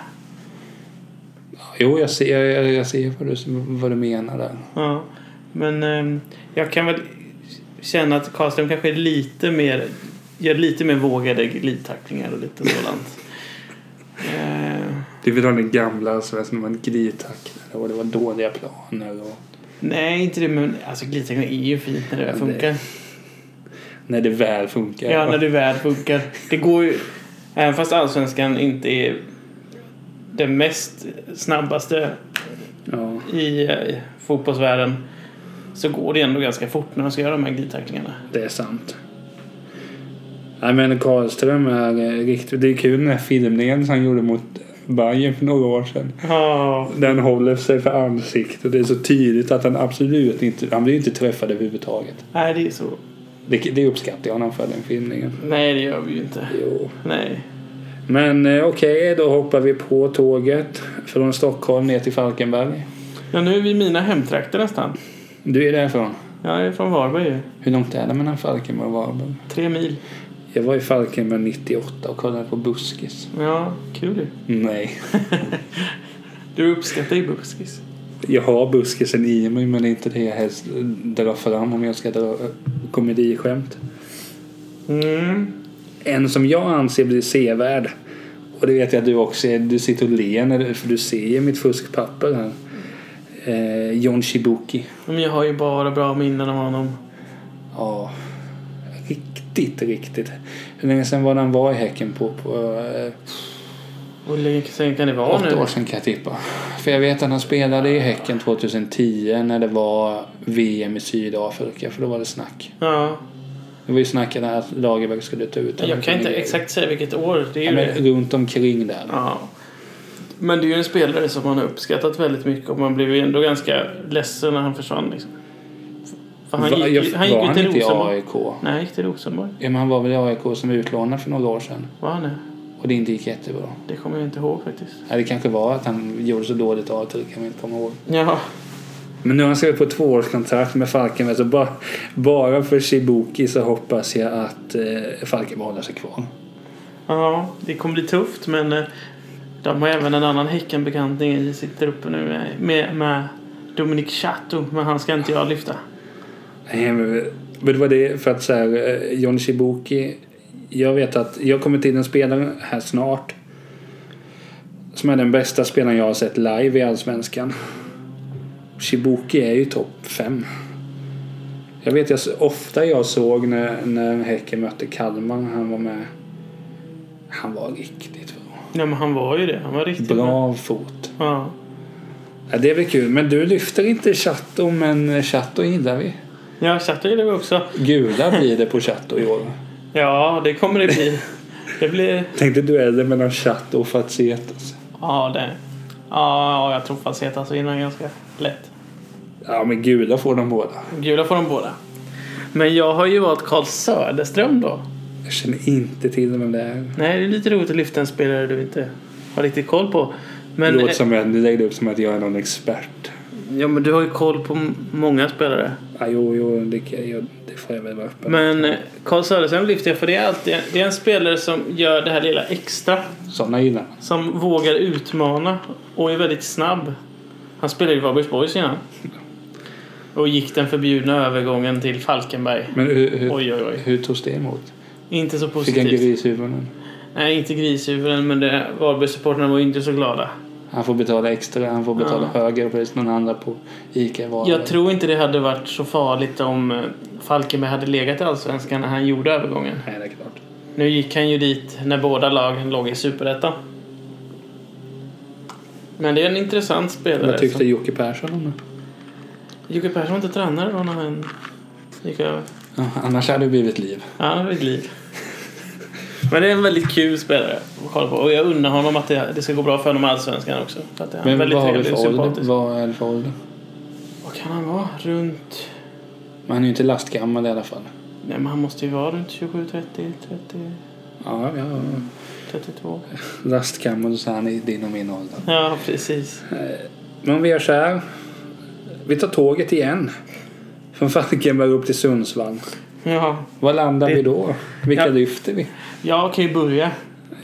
[SPEAKER 1] Jo, jag ser, jag, jag- jag ser vad, du, vad du menar där.
[SPEAKER 2] Ja. Men ehm, jag kan väl känna att Karlström kanske är lite mer gör lite mer vågade glidtacklingar och lite sådant. Eh,
[SPEAKER 1] Du vill ha den gamla svensken man glidtacklade och det var dåliga planer och
[SPEAKER 2] nej, inte det, men alltså glidtacklingar är ju fint när det väl
[SPEAKER 1] Ja,
[SPEAKER 2] funkar.
[SPEAKER 1] när det väl funkar.
[SPEAKER 2] Ja, när det väl funkar. Det går ju... Även fast allsvenskan inte är den mest snabbaste
[SPEAKER 1] ja.
[SPEAKER 2] i eh, fotbollsvärlden så går det ändå ganska fort när de ska göra de här glidtacklingarna.
[SPEAKER 1] Det är sant. Nej men Karlström är eh, riktigt... Det är kul den här filmningen som han gjorde mot Bayern för några år sedan.
[SPEAKER 2] Ja,
[SPEAKER 1] Den håller sig för ansiktet. Det är så tydligt att han absolut inte... Han blir ju inte träffad överhuvudtaget.
[SPEAKER 2] nej det är så.
[SPEAKER 1] Det, det uppskattar jag honom för, den filmningen.
[SPEAKER 2] Nej, det gör vi ju inte.
[SPEAKER 1] Jo.
[SPEAKER 2] Nej.
[SPEAKER 1] Men eh, okej, då hoppar vi på tåget från Stockholm ner till Falkenberg.
[SPEAKER 2] Ja, nu är vi i mina hemtrakter nästan.
[SPEAKER 1] Du är därifrån?
[SPEAKER 2] Jag är från Varberg ju.
[SPEAKER 1] Hur långt är det mellan Falkenberg och Varberg?
[SPEAKER 2] Tre mil.
[SPEAKER 1] Jag var i Falkenberg 98 och kollade på buskis.
[SPEAKER 2] Ja, kul ju.
[SPEAKER 1] Nej.
[SPEAKER 2] Du uppskattar ju buskis.
[SPEAKER 1] Jag har buskisen i mig men det är inte det jag helst drar fram om jag ska dra eh, komediskämt.
[SPEAKER 2] Mm.
[SPEAKER 1] En som jag anser blir sevärd. Och det vet jag att du också är. Du sitter och ler när du, för du ser ju mitt fuskpapper här. Eh, John Shibuki.
[SPEAKER 2] Men jag har ju bara bra minnen av honom.
[SPEAKER 1] Ja. Riktigt, riktigt. Hur länge sedan var det han var i Häcken på? på eh,
[SPEAKER 2] Och hur länge sen kan det vara nu?
[SPEAKER 1] Åtta år sedan kan jag tippa. För jag vet att han spelade i Häcken 2010 när det var VM i Sydafrika. För då var det snack.
[SPEAKER 2] Ja.
[SPEAKER 1] Det var ju snack om att Lagerbäck skulle ta ut
[SPEAKER 2] Jag kan inte exakt säga vilket år. Det är
[SPEAKER 1] Ja,
[SPEAKER 2] ju
[SPEAKER 1] men
[SPEAKER 2] det.
[SPEAKER 1] runt omkring där.
[SPEAKER 2] Ja. Men det är ju en spelare som man har uppskattat väldigt mycket och man blev ju ändå ganska ledsen när han försvann. Liksom. För han
[SPEAKER 1] Va-
[SPEAKER 2] gick,
[SPEAKER 1] jag-
[SPEAKER 2] ju- han gick
[SPEAKER 1] var
[SPEAKER 2] ju
[SPEAKER 1] han
[SPEAKER 2] till
[SPEAKER 1] inte i
[SPEAKER 2] Rosenborg.
[SPEAKER 1] AIK?
[SPEAKER 2] Nej, han gick till Rosenborg.
[SPEAKER 1] Ja, men han var väl i AIK som utlånad för några år sedan.
[SPEAKER 2] Var han det?
[SPEAKER 1] Och det inte gick jättebra.
[SPEAKER 2] Det kommer jag inte ihåg faktiskt.
[SPEAKER 1] Ja, det kanske var att han gjorde så dåligt avtryck, kan man inte komma ihåg.
[SPEAKER 2] Ja.
[SPEAKER 1] Men nu har han skrivit på ett tvåårskontrakt med Falkenberg så bara, bara för Shibuki så hoppas jag att eh, Falkenberg håller sig kvar.
[SPEAKER 2] ja, det kommer bli tufft men eh, de har även en annan Häckenbekantning i sitter uppe nu med, med, med Dominik Chato men han ska inte jag lyfta.
[SPEAKER 1] Nej, men men det var det för att så här, eh, John Shibuki. Jag vet att jag kommer till en spelare här snart. Som är den bästa spelaren jag har sett live i Allsvenskan. Shibuki är ju topp 5. Jag vet jag, ofta jag såg när, när Häcken mötte Kalmar, han var med. Han var riktigt bra.
[SPEAKER 2] Ja, men han var ju det. Han var riktigt
[SPEAKER 1] Bra fot.
[SPEAKER 2] Ja.
[SPEAKER 1] Ja, det blir kul. Men du lyfter inte Chatto, men Chatto gillar vi.
[SPEAKER 2] Ja, Chateau gillar vi också.
[SPEAKER 3] Gula blir det på chatt och i år.
[SPEAKER 2] Ja, det kommer det bli. Det blir...
[SPEAKER 3] Tänkte duellen mellan chatt och Facetas.
[SPEAKER 2] Ja, det... Ja, jag tror Facetas vinner ganska lätt.
[SPEAKER 3] Ja men gula får de båda.
[SPEAKER 2] Gula får de båda. Men jag har ju valt Carl Söderström då.
[SPEAKER 3] Jag känner inte till vem det är.
[SPEAKER 2] Nej, det är lite roligt att lyfta en spelare du inte har riktigt koll på.
[SPEAKER 3] Det
[SPEAKER 2] Men, eh,
[SPEAKER 3] låter som att du lägger upp som att jag är någon expert.
[SPEAKER 2] ja, men du har ju koll på m- många spelare.
[SPEAKER 3] Ja, jo, jo, det, kan- jag- det får jag väl vara öppen
[SPEAKER 2] Men eh, Carl Söderström lyfter jag för det är alltid det är en spelare som gör det här lilla extra.
[SPEAKER 3] Sådana gillar man.
[SPEAKER 2] Som vågar utmana och är väldigt snabb. Han spelade i Varbergsborgs innan. Och gick den förbjudna övergången till Falkenberg.
[SPEAKER 3] Men hur, hur,
[SPEAKER 2] Oj, oj, oj.
[SPEAKER 3] hur togs det emot?
[SPEAKER 2] Inte så
[SPEAKER 3] Fick han
[SPEAKER 2] positivt.
[SPEAKER 3] grishuvuden?
[SPEAKER 2] Nej, inte grishuvuden, men det- Varbergssupportrarna var ju inte så glada.
[SPEAKER 3] Han får betala extra, han får betala högre pris när han handlar på ICA varor.
[SPEAKER 2] Jag tror inte det hade varit så farligt om eh, Falkenberg hade legat i Allsvenskan när han gjorde övergången.
[SPEAKER 3] Nej, det är klart.
[SPEAKER 2] Nu gick han ju dit när båda lagen låg i Superettan. Men det är en intressant spelare.
[SPEAKER 3] Vad tyckte
[SPEAKER 2] som-
[SPEAKER 3] Jocke Persson om det?
[SPEAKER 2] Jocke Persson var inte tränare då när han gick över.
[SPEAKER 3] Ja, annars hade det blivit liv.
[SPEAKER 2] Ja, han har ett liv. Men det är en väldigt kul spelare att kolla på. Och jag undrar honom att det, det ska gå bra för honom i Allsvenskan också. För att det är en
[SPEAKER 3] Men
[SPEAKER 2] väldigt
[SPEAKER 3] vad har vi
[SPEAKER 2] trevlig och
[SPEAKER 3] för ålder?
[SPEAKER 2] sympatisk.
[SPEAKER 3] Vad är det för ålder?
[SPEAKER 2] Vad kan han vara? Runt...
[SPEAKER 3] Men han är ju inte lastgammal i alla fall.
[SPEAKER 2] Nej, men han måste ju vara runt 27, 30, 30,
[SPEAKER 3] Ja, ja.
[SPEAKER 2] 32.
[SPEAKER 3] Lastgammal så är han i din och min ålder.
[SPEAKER 2] Ja, precis.
[SPEAKER 1] Men om vi gör så här. Vi tar tåget igen. Från Falkenberg upp till Sundsvall.
[SPEAKER 2] Ja,
[SPEAKER 3] Var landar
[SPEAKER 2] Det-
[SPEAKER 3] vi då? Vilka
[SPEAKER 2] Ja.
[SPEAKER 3] lyfter vi?
[SPEAKER 2] jag kan ju börja.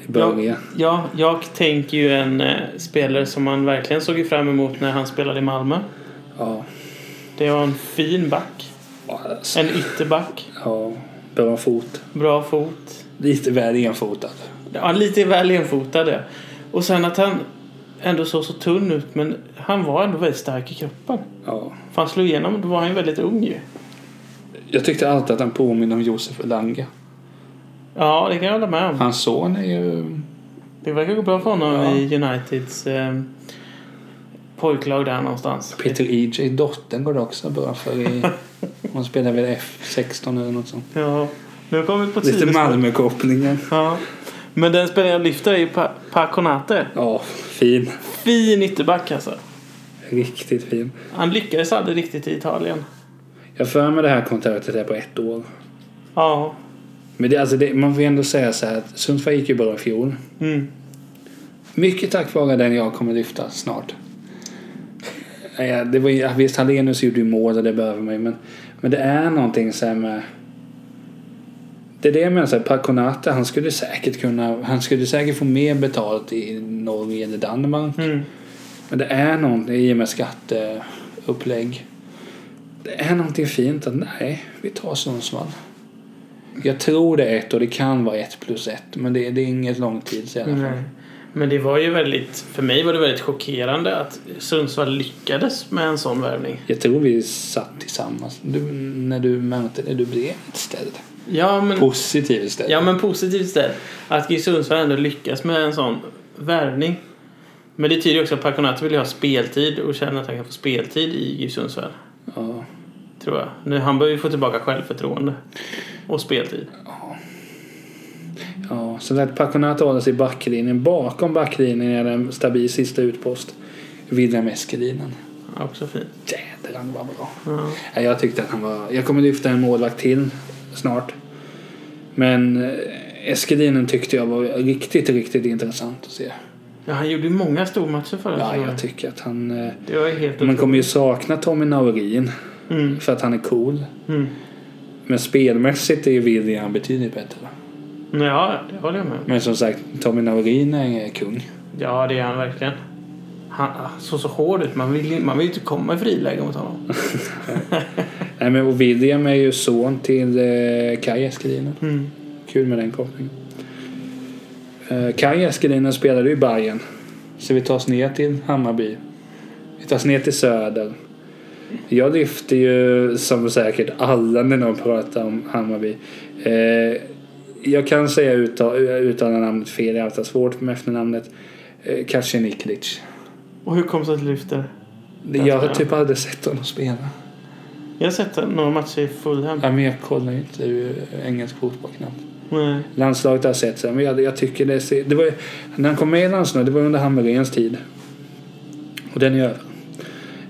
[SPEAKER 3] I början.
[SPEAKER 2] Ja, jag tänker ju en eh, spelare som man verkligen såg fram emot när han spelade i Malmö.
[SPEAKER 1] Ja.
[SPEAKER 2] Det var en fin back.
[SPEAKER 3] Ja.
[SPEAKER 2] En ytterback.
[SPEAKER 1] ja. Bra fot.
[SPEAKER 2] Bra fot.
[SPEAKER 3] Lite väl enfotad.
[SPEAKER 2] Ja, lite väl enfotad. ja. Och sen att han ändå såg så tunn ut men han var ändå väldigt stark i kroppen.
[SPEAKER 3] Ja.
[SPEAKER 2] För han slog igenom, då var han ju väldigt ung ju.
[SPEAKER 3] Jag tyckte alltid att han påminner om Josef Lange.
[SPEAKER 2] Ja, det kan jag hålla med om.
[SPEAKER 3] Hans son är ju...
[SPEAKER 2] Det verkar gå bra för honom
[SPEAKER 3] Ja.
[SPEAKER 2] i Uniteds eh, pojklag där någonstans.
[SPEAKER 3] Peter EJ. Dottern går det också bra för. I, hon spelar väl F16 eller något sånt.
[SPEAKER 2] Ja, nu kommer vi på
[SPEAKER 1] Lite
[SPEAKER 2] sidospår.
[SPEAKER 1] Malmökopplingar.
[SPEAKER 2] Ja. Men den spelaren jag lyfter är ju Pa- Paconate.
[SPEAKER 1] Ja, fin.
[SPEAKER 2] Fin ytterback alltså.
[SPEAKER 1] Riktigt fin.
[SPEAKER 2] Han lyckades aldrig riktigt i Italien.
[SPEAKER 1] Jag för mig det här kontraktet är på ett år.
[SPEAKER 2] Ja.
[SPEAKER 1] Men det, alltså det, man får ju ändå säga så här att Sundsvall gick ju bra i fjol.
[SPEAKER 2] Mm.
[SPEAKER 1] Mycket tack vare den jag kommer lyfta snart. Ja, det var, ju- ja, visst, Hallenius gjorde ju mål och det behöver man ju, men, men det är någonting så här med... Det är det jag menar, så här, Paconate, han skulle säkert kunna... Han skulle säkert få mer betalt i Norge eller Danmark.
[SPEAKER 2] Mm.
[SPEAKER 1] Men det är någonting i och med skatteupplägg. Det är någonting fint att nej, vi tar Sundsvall. Jag tror det är ett och det kan vara ett plus ett, men det, det är inget lång tid sedan.
[SPEAKER 2] Nej. Men det var ju väldigt, för mig var det väldigt chockerande att Sundsvall lyckades med en sån värvning.
[SPEAKER 1] Jag tror vi satt tillsammans. Du, när du mötte det, du blev ett ställe.
[SPEAKER 2] Ja men,
[SPEAKER 3] Positiv istället.
[SPEAKER 2] ja, men positivt där. Att GIF Sundsvall ändå lyckas med en sån värvning. Men det tyder ju också att Paconate vill ju ha speltid och känner att han kan få speltid i GIF Sundsvall.
[SPEAKER 1] Ja.
[SPEAKER 2] Tror jag. Nu, han behöver ju få tillbaka självförtroende. Och speltid.
[SPEAKER 1] Ja, så att Paconate håller sig i backlinjen. Bakom backlinjen är det en stabil sista utpost. William Eskelinen.
[SPEAKER 2] Också fint.
[SPEAKER 1] Jädrar han var bra.
[SPEAKER 2] Ja.
[SPEAKER 1] Ja, jag tyckte att han var... Jag kommer lyfta en målvakt till snart. Men eh, Eskelinen tyckte jag var riktigt, riktigt intressant att se.
[SPEAKER 2] Ja, han gjorde ju många stormatcher förra
[SPEAKER 1] Ja,
[SPEAKER 2] säsongen.
[SPEAKER 1] jag tycker att han... eh,
[SPEAKER 2] Det var ju helt
[SPEAKER 1] Man
[SPEAKER 2] otroligt.
[SPEAKER 1] kommer ju sakna Tommy Naurin
[SPEAKER 2] Mm,
[SPEAKER 1] för att han är cool.
[SPEAKER 2] mm.
[SPEAKER 1] Men spelmässigt är ju William betydligt bättre.
[SPEAKER 2] Ja, det håller jag med om.
[SPEAKER 1] Men som sagt, Tommy Naurin är kung.
[SPEAKER 2] Ja, det är han verkligen. Han såg så hård ut. Man vill ju man vill ju inte komma i friläge mot honom.
[SPEAKER 1] Nej, men och William är ju son till eh, Kaj Eskelinen.
[SPEAKER 2] Mm.
[SPEAKER 1] Kul med den kopplingen. Eh, Kaj Eskelinen spelade ju i Bayern. Så vi tar oss ner till Hammarby. Vi tar oss ner till Söder. Jag lyfter ju, som säkert alla när de pratar om Hammarby. Eh, jag kan säga uttala, uttala namnet fel, jag har alltid svårt med efternamnet. Eh, Kasin Iklic.
[SPEAKER 2] Och hur kom det sig att du lyfter?
[SPEAKER 1] Jag har typ aldrig sett honom spela.
[SPEAKER 2] Jag har sett några matcher i Fulham.
[SPEAKER 3] Ja, men jag kollar ju inte eh, engelsk fotboll knappt.
[SPEAKER 2] Nej.
[SPEAKER 1] Landslaget har jag sett sen, men jag, jag tycker det ser... Det var, ju- när han kom med i landslaget, det var under Hammarens tid. Och den är över.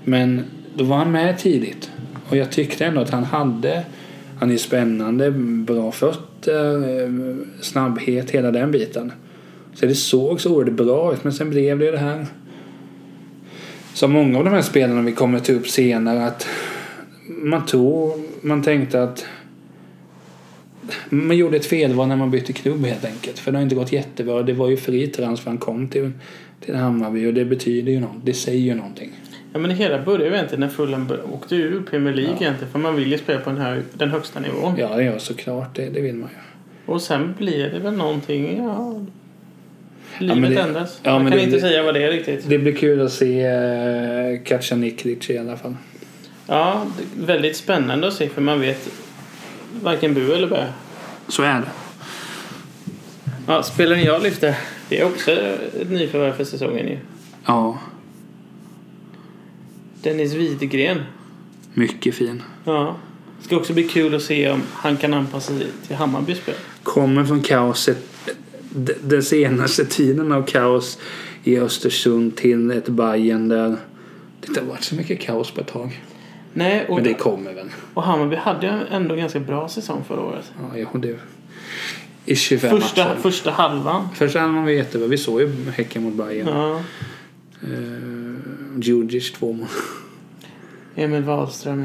[SPEAKER 1] Men då var han med tidigt. Och jag tyckte ändå att han hade... Han är spännande, bra fötter, eh, snabbhet, hela den biten. Så det såg så oerhört bra ut, men sen blev det ju det här. Så många av de här spelarna vi kommer ta upp senare, att man tror, man tänkte att man gjorde ett felval när man bytte klubb helt enkelt. För det har inte gått jättebra. Det var ju fri transfer han kom till, till Hammarby och det betyder ju något. Det säger ju någonting.
[SPEAKER 2] Ja, men det hela började ju egentligen när Fulham bör- åkte ur Premier League egentligen. För man vill ju spela på den, här, den högsta nivån.
[SPEAKER 1] Ja, ja såklart. Det, det vill man ju.
[SPEAKER 2] Och sen blir det väl någonting, ja...
[SPEAKER 1] men
[SPEAKER 2] Livet
[SPEAKER 1] det-
[SPEAKER 2] ändras.
[SPEAKER 1] ja,
[SPEAKER 2] jag
[SPEAKER 1] men
[SPEAKER 2] kan
[SPEAKER 1] det-
[SPEAKER 2] inte
[SPEAKER 1] det-
[SPEAKER 2] säga vad det är riktigt.
[SPEAKER 1] Det blir kul att se eh, Katja Niklic i alla fall.
[SPEAKER 2] Ja, det är väldigt spännande att se för man vet varken bu eller bä.
[SPEAKER 1] Så är det.
[SPEAKER 2] Ja, spelaren jag lyfte, det är också ett nyförvärv för säsongen ju.
[SPEAKER 1] Ja,
[SPEAKER 2] Dennis Widegren.
[SPEAKER 1] mycket fin.
[SPEAKER 2] Ja. Det ska också bli kul att se om han kan anpassa sig till Hammarbys spel.
[SPEAKER 1] Kommer från kaoset, d- den senaste tiden av kaos i Östersund till ett Bayern där det inte har varit så mycket kaos på ett tag.
[SPEAKER 2] Nej, och,
[SPEAKER 1] Men det kommer väl.
[SPEAKER 2] och Hammarby hade ju ändå en ganska bra säsong förra året.
[SPEAKER 1] Ja, jag och du. I 25
[SPEAKER 2] Första,
[SPEAKER 1] matcher.
[SPEAKER 2] första halvan.
[SPEAKER 1] Första halvan var jättebra. Vi såg ju Häcken mot Bayern.
[SPEAKER 2] Ja.
[SPEAKER 1] Eh, Djurdjic två mål.
[SPEAKER 2] Emil Wahlström,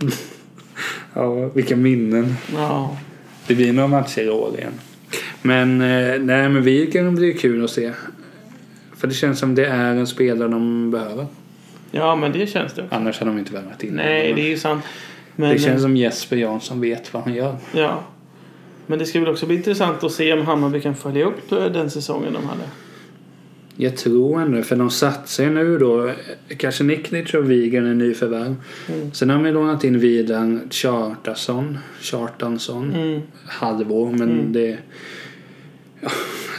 [SPEAKER 2] ja.
[SPEAKER 1] Ja, vilka minnen.
[SPEAKER 2] ja.
[SPEAKER 1] Det blir några matcher i år igen. Men, eh, nej, men Wiken blir kul att se. För det känns som det är en spelare de behöver.
[SPEAKER 2] Ja, men det känns det.
[SPEAKER 1] Annars hade de inte värvat in
[SPEAKER 2] Nej,
[SPEAKER 1] honom.
[SPEAKER 2] det är ju sant.
[SPEAKER 1] det,
[SPEAKER 2] Men,
[SPEAKER 1] känns som Jesper Jansson vet vad han gör.
[SPEAKER 2] Ja. Men det ska väl också bli intressant att se om Hammarby kan följa upp eh, den säsongen de hade.
[SPEAKER 1] Jag tror ändå, för de satsar ju nu då. eh, Kanske Niknic och Wigen är nyförvärv. Sen har de ju lånat in Vidan Chartason. Chartansson.
[SPEAKER 2] Mm.
[SPEAKER 1] halvår men det ja,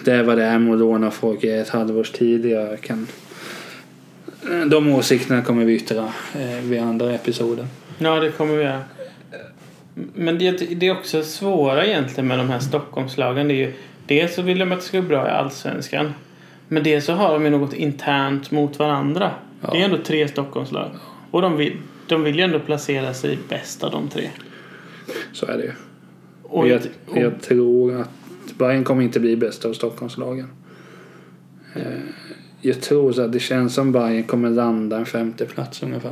[SPEAKER 1] det är vad det är med att låna folk i ett halvårs tid. Jag kan, de åsikterna kommer vi yttra eh, vid andra episoden.
[SPEAKER 2] Ja, det kommer vi göra. Men det, det är också svåra egentligen med de här Stockholmslagen. Det är ju, dels så vill de att det ska gå bra i Allsvenskan. Men dels så har de ju något internt mot varandra.
[SPEAKER 1] Ja.
[SPEAKER 2] Det är ändå tre Stockholmslag. Och de vill, de vill ju ändå placera sig bäst av de tre.
[SPEAKER 1] Så är det ju.
[SPEAKER 2] Och,
[SPEAKER 1] Men jag,
[SPEAKER 2] och,
[SPEAKER 1] jag tror att Bayern kommer inte bli bäst av Stockholmslagen. Eh, Jag tror så att det känns som Bayern kommer landa en femte plats ungefär.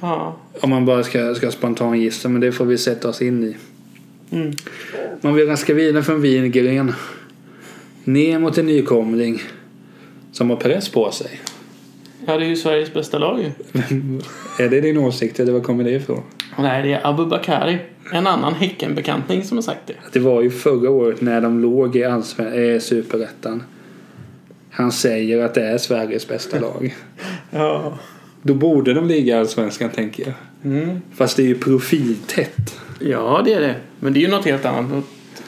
[SPEAKER 2] ja.
[SPEAKER 1] Om man bara ska, ska spontan gissa men det får vi sätta oss in i.
[SPEAKER 2] Mm.
[SPEAKER 1] Man vill raska vidare från Wingren. Ner mot en nykomling. Som har press på sig.
[SPEAKER 2] ja, det är ju Sveriges bästa lag ju.
[SPEAKER 1] är det din åsikt eller var kommer det ifrån?
[SPEAKER 2] Och Nej, det är Abubakari. En annan Häckenbekantning som har sagt det.
[SPEAKER 1] Det var ju förra året när de låg i Allsven- eh, Superettan. Han säger att det är Sveriges bästa lag.
[SPEAKER 2] Ja.
[SPEAKER 1] Då borde de ligga i Allsvenskan tänker jag.
[SPEAKER 2] Mm.
[SPEAKER 1] Fast det är ju profiltätt.
[SPEAKER 2] Ja, det är det. Men det är ju något helt annat mot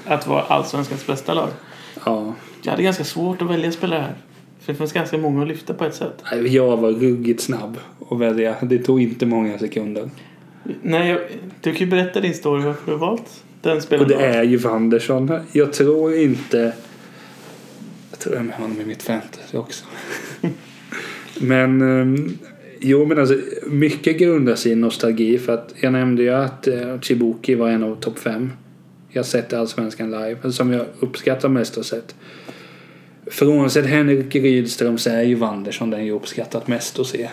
[SPEAKER 2] att vara Allsvenskans bästa lag.
[SPEAKER 1] Ja.
[SPEAKER 2] Jag hade ganska svårt att välja spelare här. För det finns ganska många att lyfta på ett sätt.
[SPEAKER 1] Nej, Jag var ruggigt snabb att välja. Det tog inte många sekunder.
[SPEAKER 2] Nej, jag, du kan ju berätta din story varför du har valt den
[SPEAKER 1] Och
[SPEAKER 2] spelaren.
[SPEAKER 1] det är ju Wanderson. Jag tror inte... Jag tror jag har med honom i mitt fantasy också. men... ehm, Jo, men alltså mycket grundar sig i nostalgi för att jag nämnde ju att eh, Chibuki var en av topp fem. Jag har sett i Allsvenskan live, som jag uppskattar mest och sett. Frånsett Henrik Rydström så är ju Wanderson den jag uppskattat mest att se.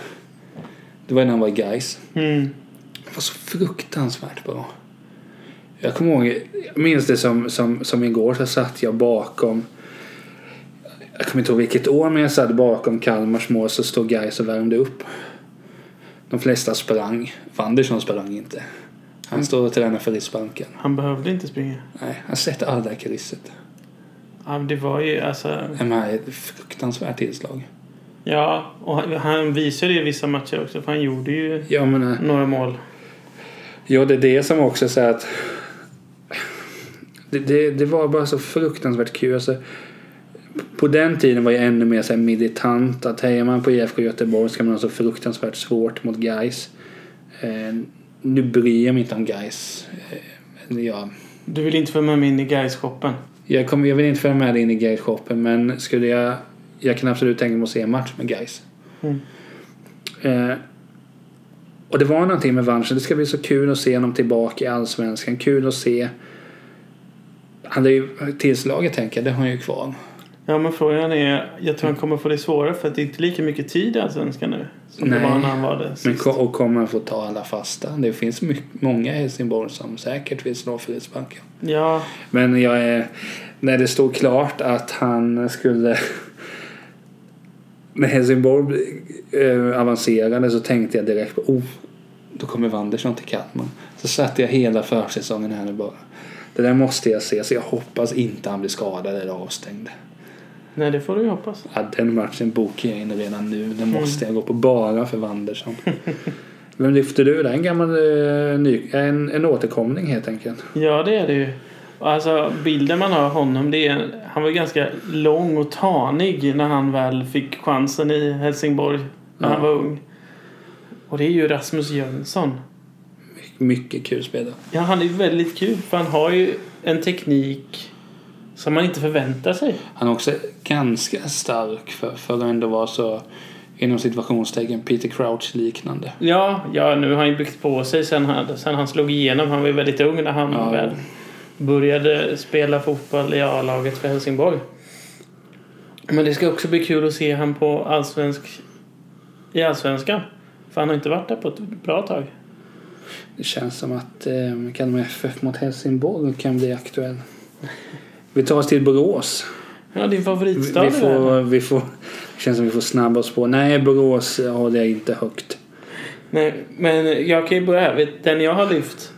[SPEAKER 1] Det var när han var i Gais.
[SPEAKER 2] Mm.
[SPEAKER 1] Det var så fruktansvärt bra. Jag kommer ihåg, jag minns det som, som, som igår så satt jag bakom jag kommer inte ihåg vilket år men jag satt bakom Kalmars mål så stod Gais och värmde upp. De flesta sprang. Wanderson sprang inte. Han står och tränar för Riksbanken.
[SPEAKER 2] Han behövde inte springa.
[SPEAKER 1] Nej, han sätter alla i krysset.
[SPEAKER 2] Ja, men det var ju alltså...
[SPEAKER 1] Det här är ett fruktansvärt tillslag.
[SPEAKER 2] Ja, och han- han visade ju vissa matcher också för han gjorde ju
[SPEAKER 1] Jag menar,
[SPEAKER 2] några mål.
[SPEAKER 1] Ja, det är det som också så här att... Det, det, det var bara så fruktansvärt kul. Alltså, på den tiden var jag ännu mer så här militant. Att hejar man på IFK Göteborg ska man ha så fruktansvärt svårt mot guys. Eh, nu bryr jag mig inte om guys. Eh, Jag,
[SPEAKER 2] Du vill inte få med mig in i guys-shoppen?
[SPEAKER 1] jag, kommer, jag vill inte följa med dig in i guys shoppen men skulle jag... Jag kan absolut tänka mig att se en match med guys.
[SPEAKER 2] Mm.
[SPEAKER 1] Eh, och det var någonting med Vanschen. Det ska bli så kul att se honom tillbaka i Allsvenskan. Kul att se... Han är ju tillslaget tänker jag. Det har han ju kvar.
[SPEAKER 2] Ja, men frågan är... Jag tror han kommer få det svårare för att det är inte lika mycket tid i Allsvenskan nu. Som det
[SPEAKER 1] Nej.
[SPEAKER 2] var när han var där
[SPEAKER 1] Men
[SPEAKER 2] sist.
[SPEAKER 1] ko- och kommer han få ta alla fasta? Det finns my- många i Helsingborg som säkert vill slå frisparken.
[SPEAKER 2] Ja,
[SPEAKER 1] Men jag är... När det stod klart att han skulle... När Helsingborg eh, avancerade så tänkte jag direkt på oh, då kommer Wanderson till Kalmar. Så satt jag hela försäsongen här nu bara. Det där måste jag se, så jag hoppas inte han blir skadad eller avstängd.
[SPEAKER 2] nej det får du ju hoppas.
[SPEAKER 1] Ja, den matchen bokar jag in redan nu. Den måste jag gå på bara för Wanderson. Vem lyfter du där? En gammal eh, ny, en, en återkomling helt enkelt.
[SPEAKER 2] Ja, det är det ju. Alltså, bilden man har av honom, det är... Han var ju ganska lång och tanig när han väl fick chansen i Helsingborg. När
[SPEAKER 1] Ja.
[SPEAKER 2] han var ung. Och det är ju Rasmus Jönsson.
[SPEAKER 1] Mycket kul spelare.
[SPEAKER 2] Ja, han är ju väldigt kul för han har ju en teknik som man inte förväntar sig.
[SPEAKER 1] Han är också ganska stark för, för att ändå vara så inom situationstecken Peter Crouch liknande.
[SPEAKER 2] Ja, ja nu har han ju byggt på sig sen han, sen han slog igenom. Han var ju väldigt ung när han
[SPEAKER 1] Ja.
[SPEAKER 2] väl började spela fotboll i A-laget för Helsingborg. Men det ska också bli kul att se han på allsvensk, i allsvenskan. För han har inte varit där på ett bra tag.
[SPEAKER 1] Det känns som att eh, Kalmar FF mot Helsingborg kan bli aktuell. Vi tar oss till Borås.
[SPEAKER 2] Ja, din
[SPEAKER 1] Vi,
[SPEAKER 2] favoritstad
[SPEAKER 1] vi
[SPEAKER 2] i världen.
[SPEAKER 1] får, vi får, det känns som vi får snabba oss på. Nej, Borås håller jag inte högt.
[SPEAKER 2] Nej, men jag kan ju börja här. Vet- Den jag har lyft,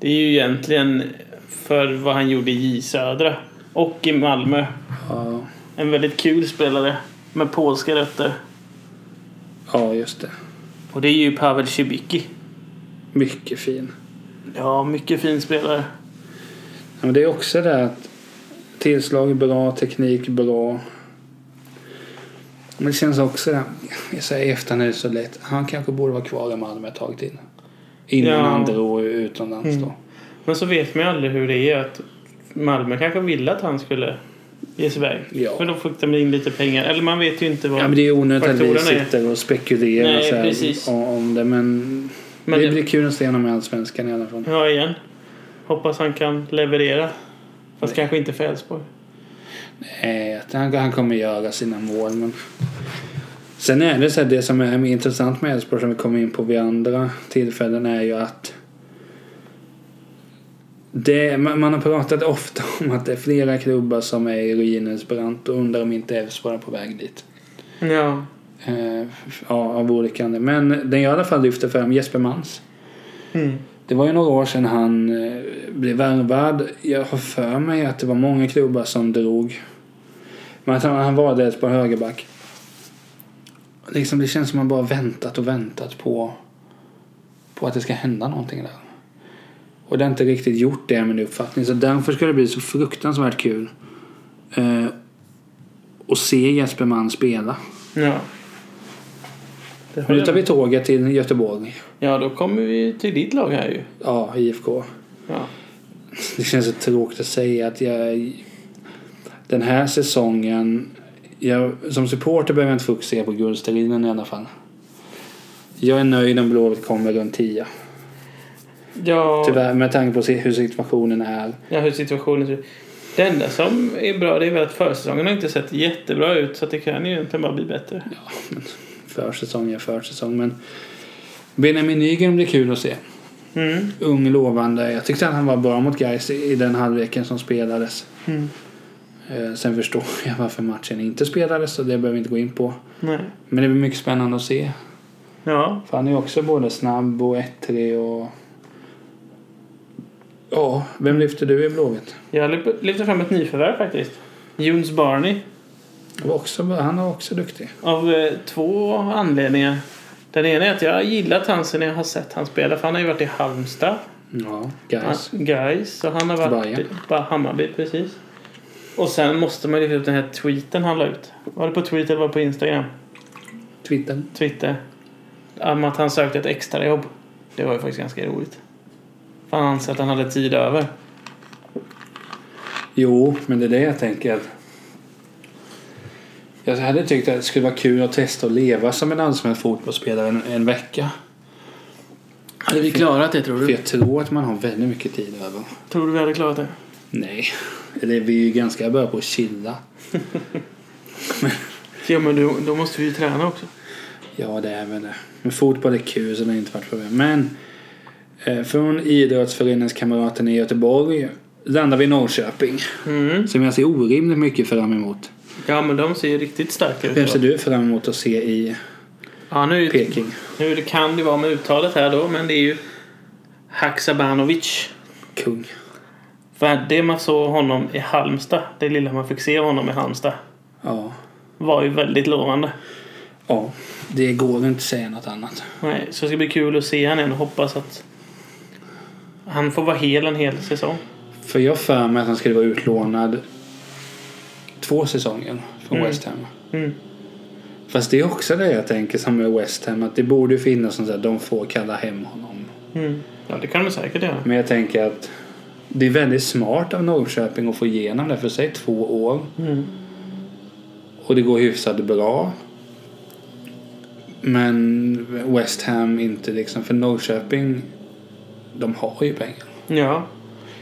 [SPEAKER 2] det är ju egentligen för vad han gjorde i J Södra och i Malmö.
[SPEAKER 1] Ja,
[SPEAKER 2] En väldigt kul spelare med polska rötter.
[SPEAKER 1] ja just det.
[SPEAKER 2] Och det är ju Pavel Cibicki.
[SPEAKER 1] Mycket fin.
[SPEAKER 2] Ja, mycket fin spelare.
[SPEAKER 1] Ja, men det är också det här att tillslag är bra, teknik är bra. Men det känns också det här, jag säger i efterhand är det så lätt, han kanske borde vara kvar i Malmö ett tag till. Innan
[SPEAKER 2] Ja.
[SPEAKER 1] han drog utomlands
[SPEAKER 2] Mm.
[SPEAKER 1] då.
[SPEAKER 2] Men så vet man ju aldrig hur det är att Malmö kanske ville att han skulle ge sig iväg.
[SPEAKER 1] Ja.
[SPEAKER 2] För då fick de in lite pengar. Eller man vet ju inte vad...
[SPEAKER 1] Ja men det är onödigt att vi
[SPEAKER 2] Faktorerna är-
[SPEAKER 1] sitter och spekulerar
[SPEAKER 2] Nej,
[SPEAKER 1] så
[SPEAKER 2] precis.
[SPEAKER 1] här, om- om det men,
[SPEAKER 2] Men
[SPEAKER 1] det
[SPEAKER 2] det-
[SPEAKER 1] blir kul att se honom i Allsvenskan i alla fall.
[SPEAKER 2] Ja, igen. Hoppas han kan leverera. Fast kanske inte för Elfsborg.
[SPEAKER 1] Nej, att Eh, han, han kommer göra sina mål men Sen är det så här, det som är intressant med Elfsborg som vi kommer in på vid andra tillfällen är ju att det, man, man har pratat ofta om att det är flera klubbar som är i ruinens brant och undrar om inte Elfsborg är på väg dit.
[SPEAKER 2] Ja.
[SPEAKER 1] Eh, ja, av olika anledningar. Men den jag i alla fall lyfter fram, Jesper Mans.
[SPEAKER 2] Mm.
[SPEAKER 1] Det var ju några år sedan han eh, blev värvad. Jag har för mig att det var många klubbar som drog. Men att han, han var dels på högerback. Liksom det känns som man bara väntat och väntat på, på att det ska hända någonting där. Och det har inte riktigt gjort det är min uppfattning. Så därför ska det bli så fruktansvärt kul. Eh, att se Jesper Mann spela.
[SPEAKER 2] Ja. Det
[SPEAKER 1] Men nu
[SPEAKER 2] håller
[SPEAKER 1] tar
[SPEAKER 2] jag
[SPEAKER 1] vi
[SPEAKER 2] med.
[SPEAKER 1] tåget till Göteborg.
[SPEAKER 2] Ja, då kommer vi till ditt lag här ju.
[SPEAKER 1] Ja, IFK.
[SPEAKER 2] Ja.
[SPEAKER 1] Det känns så tråkigt att säga att jag... Den här säsongen... Jag, som supporter behöver jag inte fokusera på guldstriden i alla fall. Jag är nöjd om Blåvitt kommer runt 10.
[SPEAKER 2] Ja,
[SPEAKER 1] Tyvärr, med tanke på se- hur situationen är.
[SPEAKER 2] ja, hur situationen ser ut. Det enda som är bra det är väl att försäsongen har inte sett jättebra ut så att det kan ju egentligen bara bli bättre.
[SPEAKER 1] Försäsong är försäsong, men... Benjamin Nygren blir kul att se.
[SPEAKER 2] Mm.
[SPEAKER 1] Ung, lovande. Jag tyckte att han var bra mot Gais i i den halvleken som spelades.
[SPEAKER 2] Mm.
[SPEAKER 1] Eh, sen förstår jag varför matchen inte spelades, så det behöver vi inte gå in på.
[SPEAKER 2] Nej.
[SPEAKER 1] Men det blir mycket spännande att se.
[SPEAKER 2] Ja.
[SPEAKER 1] För han är ju också både snabb och ettrig och... Ja, vem lyfter du i Blåvitt?
[SPEAKER 2] Jag lyf- lyfter fram ett nyförvärv faktiskt. Jones Barney.
[SPEAKER 1] Han var också, han är också duktig.
[SPEAKER 2] Av eh, två anledningar. Den ena är att jag har gillat han sen jag har sett han spela. För han har ju varit i Halmstad.
[SPEAKER 1] Ja, guys.
[SPEAKER 2] Guys. Så han har varit i
[SPEAKER 1] Bayern.
[SPEAKER 2] bara Hammarby precis. Och sen måste man ju lyfta upp den här tweeten han la ut. Var det på Twitter eller var det på Instagram?
[SPEAKER 1] Twitter.
[SPEAKER 2] Twitter. Om att han sökte ett extrajobb. Det var ju faktiskt ganska roligt. För han ansåg att han hade tid över.
[SPEAKER 1] Jo, men det är det jag tänker. Att jag hade tyckt att det skulle vara kul att testa att leva som en allsvensk fotbollsspelare en, en vecka.
[SPEAKER 2] Hade vi klarat det tror
[SPEAKER 1] För
[SPEAKER 2] du?
[SPEAKER 1] jag tror att man har väldigt mycket tid över.
[SPEAKER 2] Tror du vi hade klarat det?
[SPEAKER 1] Nej, eller vi är ju ganska bra på att chilla.
[SPEAKER 2] Ja men då, då måste vi ju träna också.
[SPEAKER 1] Ja, det är väl det. Men fotboll är kul så det har inte varit problem. Men eh, från idrottsföreningskamraterna i Göteborg landar vi i Norrköping.
[SPEAKER 2] Mm.
[SPEAKER 1] Som jag ser orimligt mycket fram emot.
[SPEAKER 2] Ja men de ser ju riktigt starka ut.
[SPEAKER 1] Vem ser
[SPEAKER 2] då.
[SPEAKER 1] du fram emot att se i
[SPEAKER 2] Ja, nu, är ju-
[SPEAKER 1] Peking?
[SPEAKER 2] nu kan det vara med uttalet här då men det är ju Haksabanovic.
[SPEAKER 1] Kung.
[SPEAKER 2] För det man såg honom i Halmstad, det lilla man fick se av honom i Halmstad,
[SPEAKER 1] Ja.
[SPEAKER 2] var ju väldigt lovande.
[SPEAKER 1] Ja, det går inte att säga något annat.
[SPEAKER 2] Nej, så det ska bli kul att se han igen och hoppas att han får vara hel en hel säsong.
[SPEAKER 1] För jag har för mig att han skulle vara utlånad två säsonger från
[SPEAKER 2] Mm.
[SPEAKER 1] West Ham.
[SPEAKER 2] Mm.
[SPEAKER 1] Fast det är också det jag tänker som med West Ham. Att det borde ju finnas sånt där de får kalla hem honom.
[SPEAKER 2] Mm. Ja, det kan de säkert göra.
[SPEAKER 1] Men jag tänker att det är väldigt smart av Norrköping att få igenom det för sig två år.
[SPEAKER 2] Mm.
[SPEAKER 1] Och det går hyfsat bra. Men West Ham inte liksom. För Norrköping, de har ju pengar.
[SPEAKER 2] Ja.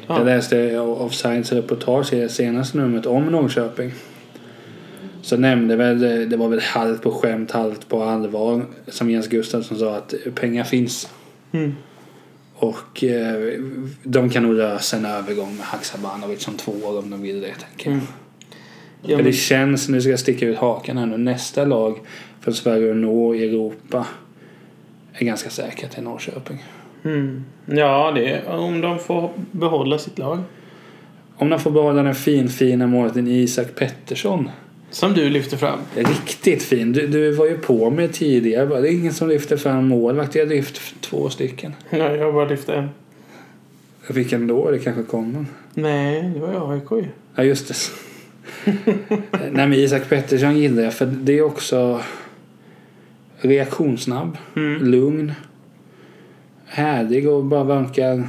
[SPEAKER 2] Ja.
[SPEAKER 1] Jag läste Offsides reportage i det senaste numret om Norrköping. Så nämnde väl, det var väl halvt på skämt, halvt på allvar, som Jens Gustafsson sa att pengar finns.
[SPEAKER 2] Mm.
[SPEAKER 1] Och eh, de kan nog lösa en övergång med Haksabanovic som två år om de vill det, tänker jag.
[SPEAKER 2] Mm. Ja,
[SPEAKER 1] För
[SPEAKER 2] men,
[SPEAKER 1] det känns, nu ska jag sticka ut hakan här nu, nästa lag för Sverige att nå i Europa är ganska säkert till Norrköping.
[SPEAKER 2] mm. ja det, om de får behålla sitt lag.
[SPEAKER 1] Om de får behålla den finfina målvakten Isak Pettersson
[SPEAKER 2] Som du lyfter fram.
[SPEAKER 1] Riktigt fin. Du, du var ju på mig tidigare. Bara, Det är ingen som lyfter fram målvakt. Jag lyft f- två stycken.
[SPEAKER 2] Nej, jag bara lyfter en.
[SPEAKER 1] Vilken då? Det kanske kommer.
[SPEAKER 2] Nej, det var ju AIK ju.
[SPEAKER 1] Ja, just det. Nej, men Isak Pettersson gillar jag för det är också reaktionssnabb,
[SPEAKER 2] Mm.
[SPEAKER 1] lugn, härlig och bara vankar.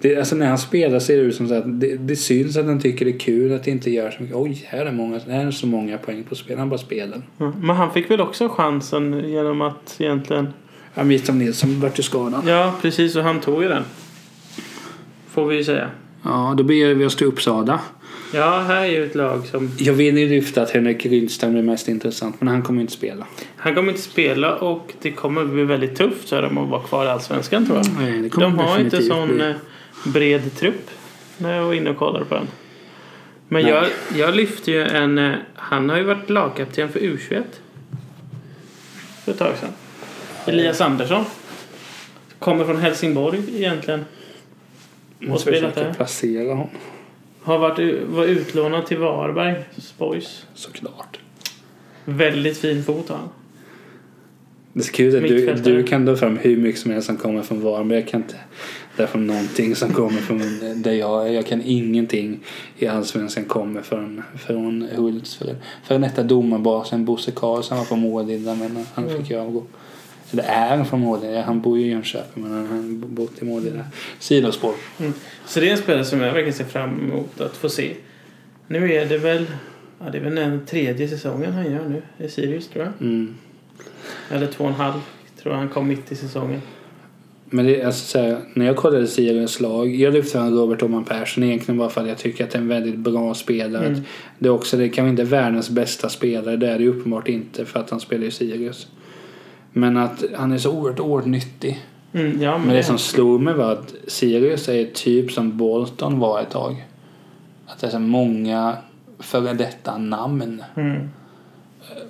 [SPEAKER 1] Det, alltså när han spelar ser det ut som så att det, det syns att han tycker det är kul att det inte gör så mycket. Oj, här är, många, här är så många poäng på spel. Han bara spelar.
[SPEAKER 2] Ja, Men han fick väl också chansen genom att egentligen...
[SPEAKER 1] Ja, Mitom Nilsson vart ju skadad.
[SPEAKER 2] Ja, precis. Och han tog ju den. Får vi ju säga.
[SPEAKER 1] Ja, då beger vi oss till Uppsala.
[SPEAKER 2] Ja, här är ju ett lag som...
[SPEAKER 1] Jag vill ju lyfta att Henrik Rydström är mest intressant, men han kommer inte spela.
[SPEAKER 2] Han kommer inte spela och det kommer bli väldigt tufft för dem att vara kvar i Allsvenskan tror jag.
[SPEAKER 1] Nej, det kommer
[SPEAKER 2] De har inte
[SPEAKER 1] definitivt
[SPEAKER 2] sån
[SPEAKER 1] bli-
[SPEAKER 2] eh, bred trupp när jag var inne och kollade på den. Men
[SPEAKER 1] Nej.
[SPEAKER 2] jag, jag lyfte ju en... eh, Han har ju varit lagkapten för U21. För ett tag sedan. Elias Andersson. Kommer från Helsingborg egentligen.
[SPEAKER 1] Måste
[SPEAKER 2] eh, spelat
[SPEAKER 1] försöka
[SPEAKER 2] där.
[SPEAKER 1] placera honom,
[SPEAKER 2] Har varit u- var utlånad till Varberg, Spoils.
[SPEAKER 1] såklart.
[SPEAKER 2] Väldigt fin fot har han.
[SPEAKER 1] Det är så kul att du,
[SPEAKER 2] Mittfältare.
[SPEAKER 1] du kan dra fram hur mycket som helst som kommer från Varberg. Jag kan inte dra fram någonting som kommer från där jag är. Jag kan ingenting i Allsvenskan kommer från, från Hultsfred. Före detta domarbasen Bosse Karlsson var från Målilla men han fick ju avgå. Eller är från Målilla. Han bor ju i Jönköping men han har bott i Målilla. Sidospår.
[SPEAKER 2] Så det är en spelare som jag verkligen ser fram emot att få se. Nu är det väl... Ja, det är väl den tredje säsongen han gör nu i Sirius, tror jag.
[SPEAKER 1] Mm.
[SPEAKER 2] Eller två och en halv. Tror jag han kom mitt i säsongen.
[SPEAKER 1] Men det, är alltså, så här, när jag kollade Sirius lag, jag lyfte fram Robert Oman Persson egentligen bara för att jag tycker att det är en väldigt bra spelare.
[SPEAKER 2] Mm.
[SPEAKER 1] Det är också, det kanske inte är världens bästa spelare, det är det ju uppenbart inte för att han spelar i Sirius. Men att han är så oerhört, oerhört nyttig.
[SPEAKER 2] Mm, ja, men,
[SPEAKER 1] Men det som slog mig var att Sirius är typ som Bolton var ett tag. Att det är så många före detta namn.
[SPEAKER 2] Mm.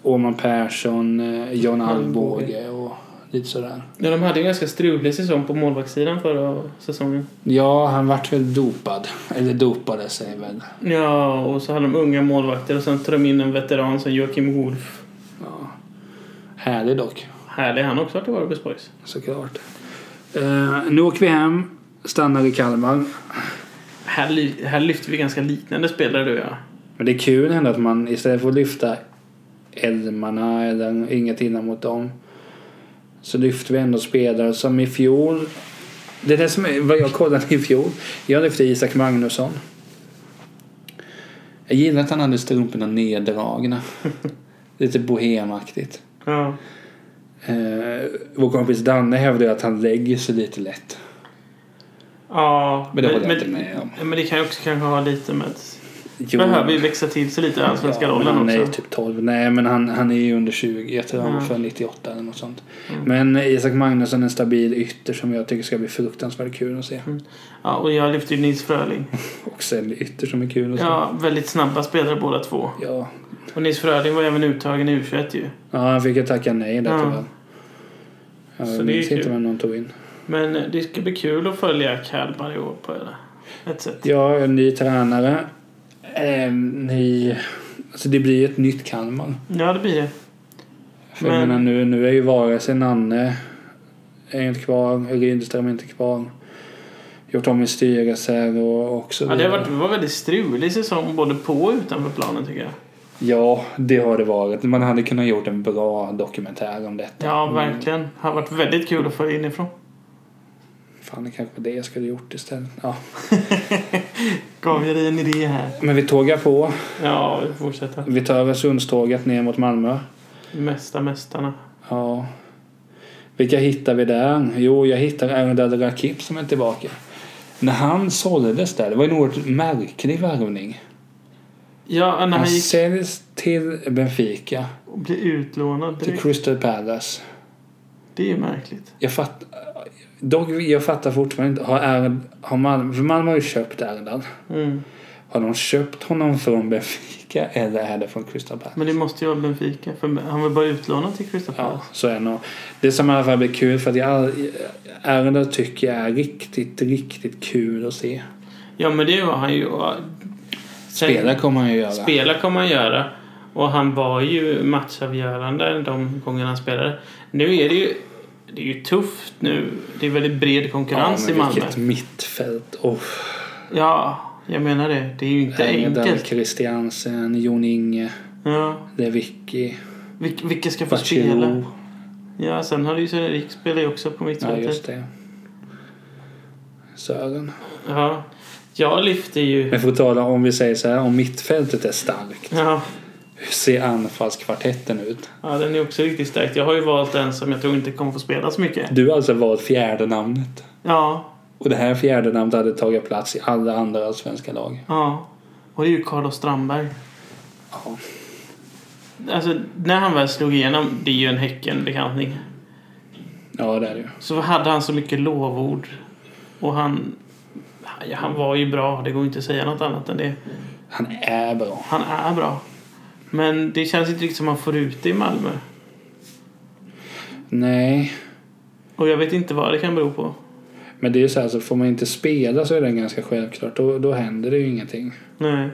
[SPEAKER 1] Oman Persson, eh, John
[SPEAKER 2] Alvbåge.
[SPEAKER 1] Alvbåge och lite sådär.
[SPEAKER 2] Ja, de hade ju en ganska strulig säsong på målvaktssidan förra säsongen.
[SPEAKER 1] Ja, han vart väl dopad. Eller dopade sig väl.
[SPEAKER 2] Ja, och så hade de unga målvakter och sen tog de in en veteran som Joakim Wolf.
[SPEAKER 1] Ja. Härlig dock,
[SPEAKER 2] Härlig, han har också varit i Varbergs Boys.
[SPEAKER 1] såklart. Eh, nu åker vi hem, stannar i Kalmar.
[SPEAKER 2] Här, ly- här lyfter vi ganska liknande spelare du och jag.
[SPEAKER 1] Men det är kul ändå att man istället för att lyfta älmarna eller inget innan mot dem Så lyfter vi ändå spelare som i fjol. Det är det som är vad jag kollade i fjol. Jag lyfte Isak Magnusson.
[SPEAKER 3] Jag gillar att han hade strumporna neddragna. Lite bohemaktigt.
[SPEAKER 2] Ja.
[SPEAKER 1] Eh, vår kompis Danne hävdar ju att han lägger sig lite lätt.
[SPEAKER 2] ja
[SPEAKER 3] Men det håller jag inte med om.
[SPEAKER 2] men det kan ju också kanske ha lite med att...
[SPEAKER 1] Jo,
[SPEAKER 2] Behöver ju växa till sig lite i allsvenska
[SPEAKER 1] men
[SPEAKER 2] rollen
[SPEAKER 1] han är ju
[SPEAKER 2] också.
[SPEAKER 1] typ 12. Nej, men han, han är ju under 20. Jag tror han var
[SPEAKER 2] Mm.
[SPEAKER 1] för 98 eller något sånt.
[SPEAKER 2] Mm.
[SPEAKER 1] Men Isak Magnusson är en stabil ytter som jag tycker ska bli fruktansvärt kul att se.
[SPEAKER 2] Ja, och jag lyfter ju Nils Fröling.
[SPEAKER 1] Och Sell ytter som är kul att se.
[SPEAKER 2] Ja, väldigt snabba spelare båda två.
[SPEAKER 1] Ja.
[SPEAKER 2] Och Nils Fröling var även uttagen i U21 ju.
[SPEAKER 1] ja, han fick ju tacka nej där
[SPEAKER 2] Ja.
[SPEAKER 1] tyvärr.
[SPEAKER 2] Mm. Så det
[SPEAKER 1] Jag
[SPEAKER 2] är
[SPEAKER 1] minns
[SPEAKER 2] ju
[SPEAKER 1] inte
[SPEAKER 2] kul.
[SPEAKER 1] vem någon tog in.
[SPEAKER 2] Men eh, det ska bli kul att följa Kalmar i år på det. ett sätt.
[SPEAKER 1] Ja, en ny tränare. Ehm, ny... Alltså det blir ju ett nytt Kalmar.
[SPEAKER 2] Ja, det blir det.
[SPEAKER 1] För jag
[SPEAKER 2] Men-
[SPEAKER 1] menar nu, nu är ju vare sig Nanne är inte kvar, Rydström är inte kvar. Gjort om i styrelser och, och så
[SPEAKER 2] Ja, det, har
[SPEAKER 1] vidare.
[SPEAKER 2] varit, det var väldigt strulig säsong både på och utanför planen tycker jag.
[SPEAKER 1] Ja, det har det varit. Man hade kunnat gjort en bra dokumentär om detta.
[SPEAKER 2] Ja,
[SPEAKER 1] Men
[SPEAKER 2] verkligen. Det har varit väldigt kul att följa inifrån.
[SPEAKER 1] Mm. Fan, det kanske var det jag skulle gjort istället. Ja.
[SPEAKER 2] Gav jag dig en idé här?
[SPEAKER 1] Men vi tågar på.
[SPEAKER 2] Ja, vi fortsätter.
[SPEAKER 1] Vi tar Öresundståget ner mot Malmö.
[SPEAKER 2] Mästa mästarna.
[SPEAKER 1] Ja. Vilka hittar vi där? Jo, jag hittar Erdal Rakip som är tillbaka. När han såldes där, det var en oerhört märklig värvning.
[SPEAKER 2] Ja, när
[SPEAKER 1] Han
[SPEAKER 2] han gick
[SPEAKER 1] säljs till Benfica,
[SPEAKER 2] och blev utlånad
[SPEAKER 1] till
[SPEAKER 2] direkt.
[SPEAKER 1] Crystal Palace.
[SPEAKER 2] Det är ju märkligt.
[SPEAKER 1] Jag fattar, dock, jag fattar fortfarande inte. Har, Erd, har Malmö, för Malmö har ju köpt Erdal.
[SPEAKER 2] Mm.
[SPEAKER 1] Har de köpt honom från Benfica eller är det från Crystal Palace?
[SPEAKER 2] Men det måste ju vara Benfica. För han var bara utlånad till Crystal
[SPEAKER 1] Ja,
[SPEAKER 2] Palace.
[SPEAKER 1] så är det nog. Det som i alla fall blir kul för att jag Erdal tycker jag är riktigt, riktigt kul att se.
[SPEAKER 2] Ja. men det var han ju. Och sen-
[SPEAKER 3] Spela kommer han ju göra.
[SPEAKER 2] Spela kommer han göra. Och han var ju matchavgörande de gångerna han spelade. Nu är det ju, det är ju tufft nu. Det är väldigt bred konkurrens
[SPEAKER 1] men
[SPEAKER 2] i Malmö.
[SPEAKER 1] Vilket mittfält. Oh,
[SPEAKER 2] Ja, jag menar det. Det är ju inte
[SPEAKER 1] Erdal,
[SPEAKER 2] enkelt.
[SPEAKER 1] Christiansen, Jon Inge,
[SPEAKER 2] Ja.
[SPEAKER 1] Lewicki,
[SPEAKER 2] Vil- vilka ska få spela?
[SPEAKER 1] Bachirou.
[SPEAKER 2] Ja, sen har du ju Sören spelar ju också på
[SPEAKER 1] Ja,
[SPEAKER 2] mittfältet.
[SPEAKER 1] just det. Sören.
[SPEAKER 2] Ja, jag lyfter ju...
[SPEAKER 1] Men får tala om vi säger så här, om mittfältet är starkt.
[SPEAKER 2] Ja,
[SPEAKER 1] Hur ser anfallskvartetten ut?
[SPEAKER 2] ja, den är också riktigt stark. Jag har ju valt en som jag tror inte kommer få spela så mycket.
[SPEAKER 1] Du har alltså valt fjärde namnet.
[SPEAKER 2] Ja,
[SPEAKER 1] Och det här fjärde namnet hade tagit plats i alla andra svenska lag.
[SPEAKER 2] ja. Och det är ju Carlos Strandberg.
[SPEAKER 1] Ja.
[SPEAKER 2] Alltså, när han väl slog igenom, det är ju en Häcken-bekantning,
[SPEAKER 1] Ja, det är det ju.
[SPEAKER 2] så hade han så mycket lovord. Och han... ja, Han var ju bra, det går inte att säga något annat än det.
[SPEAKER 1] Han är bra.
[SPEAKER 2] Han är bra. Men det känns inte riktigt som man får ut det i Malmö.
[SPEAKER 1] Nej,
[SPEAKER 2] Och jag vet inte vad det kan bero på.
[SPEAKER 1] men det är ju så här, så får man inte spela så är det ganska självklart. Då, då händer det ju ingenting.
[SPEAKER 2] Nej.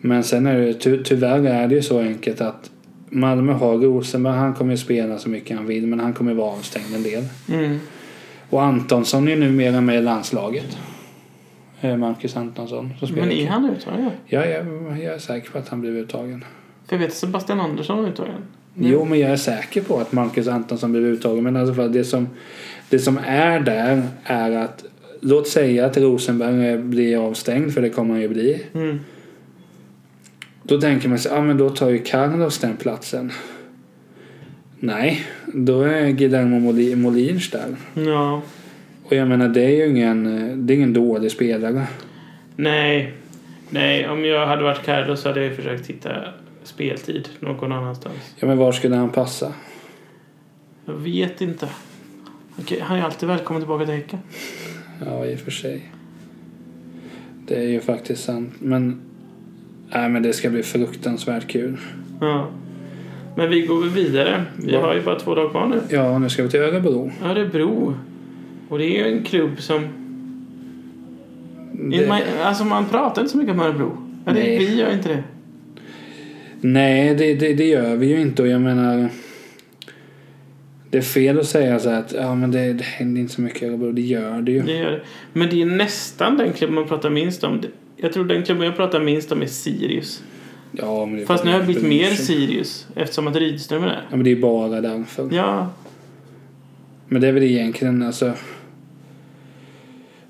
[SPEAKER 1] Men sen är det ju- ty, tyvärr är det ju så enkelt att Malmö har Rosenberg, han kommer ju spela så mycket han vill men han kommer vara avstängd en del.
[SPEAKER 2] Mm.
[SPEAKER 1] Och Antonsson är ju numera med i landslaget. Eh, Marcus Antonsson. som spelar.
[SPEAKER 2] Men är han uttagen?
[SPEAKER 1] Ja, jag, jag är säker på att han blev uttagen.
[SPEAKER 2] För jag vet att Sebastian Andersson är uttagen. Mm.
[SPEAKER 1] Jo, men jag är säker på att Marcus Antonsson blev uttagen. Men alltså för att det, som, det som är där är att låt säga att Rosenberg blir avstängd, för det kommer han ju bli.
[SPEAKER 2] Mm.
[SPEAKER 1] Då tänker man sig, ja ah, men då tar ju Carlos den platsen. Nej, då är Guillermo Moli- Molins där.
[SPEAKER 2] Ja.
[SPEAKER 1] Och jag menar, det är ju ingen, det är ingen dålig spelare.
[SPEAKER 2] Nej. Nej, om jag hade varit Carlos så hade jag ju försökt hitta speltid någon annanstans.
[SPEAKER 1] Ja, men var skulle han passa?
[SPEAKER 2] Jag vet inte. Okej, han är alltid välkommen tillbaka till Häcken.
[SPEAKER 1] Ja, i och för sig. Det är ju faktiskt sant. Men, nej, men det ska bli fruktansvärt kul.
[SPEAKER 2] Ja. Men vi går väl vidare. Vi
[SPEAKER 1] Ja.
[SPEAKER 2] har ju bara två dagar kvar nu.
[SPEAKER 1] Ja, nu ska vi till Örebro.
[SPEAKER 2] Örebro. Och det är ju en klubb som...
[SPEAKER 1] Det-
[SPEAKER 2] Man, alltså man pratar inte så mycket om Örebro. Ja, det,
[SPEAKER 1] Nej.
[SPEAKER 2] vi gör inte det.
[SPEAKER 1] Nej, det, det, det gör vi ju inte. Och jag menar... Det är fel att säga så här att ja, men det, det händer inte så mycket i Örebro. Det gör det ju.
[SPEAKER 2] det, gör det. Men det är nästan den klubb man pratar minst om. Jag tror den klubben jag pratar minst om är Sirius.
[SPEAKER 1] Ja, men det
[SPEAKER 2] Fast nu har jag blivit mer
[SPEAKER 1] Ja,
[SPEAKER 2] Sirius eftersom att Rydström är där.
[SPEAKER 1] men det är bara därför.
[SPEAKER 2] Ja,
[SPEAKER 1] Men det är väl egentligen alltså.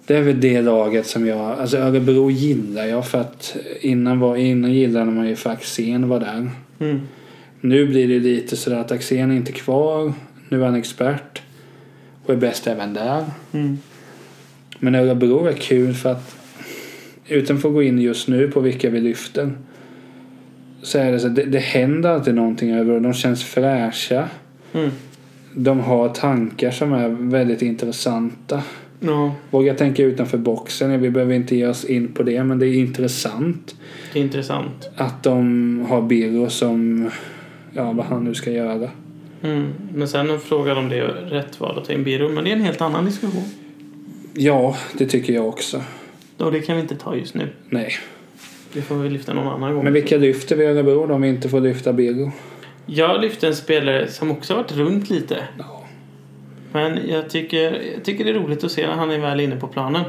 [SPEAKER 1] Det är väl det laget som jag, alltså Örebro gillar jag för att innan, var, innan gillade man ju för Axén var där.
[SPEAKER 2] Mm.
[SPEAKER 1] Nu blir det lite sådär att Axén är inte kvar, nu är han expert och är bäst även där.
[SPEAKER 2] Mm.
[SPEAKER 1] Men Örebro är kul för att utan att få gå in just nu på vilka vi lyfter så är det så att det, det händer alltid någonting över och de känns fräscha.
[SPEAKER 2] Mm.
[SPEAKER 1] De har tankar som är väldigt intressanta.
[SPEAKER 2] Ja,
[SPEAKER 1] Våga tänka utanför boxen. Vi behöver inte ge oss in på det men det är intressant
[SPEAKER 2] det är intressant.
[SPEAKER 1] att de har Birro som ja, vad han nu ska göra.
[SPEAKER 2] Mm. Men sen frågar de om det är rätt val att ta in Biro, men det är en helt annan diskussion.
[SPEAKER 1] Ja, det tycker jag också.
[SPEAKER 2] Och det kan vi inte ta just nu.
[SPEAKER 1] Nej.
[SPEAKER 2] Det får vi lyfta någon annan gång.
[SPEAKER 1] Men vilka lyfter vi i Örebro då om vi inte får lyfta Birro?
[SPEAKER 2] Jag lyfte en spelare som också har varit runt lite.
[SPEAKER 1] Ja.
[SPEAKER 2] Men jag tycker, jag tycker det är roligt att se när han är väl inne på planen.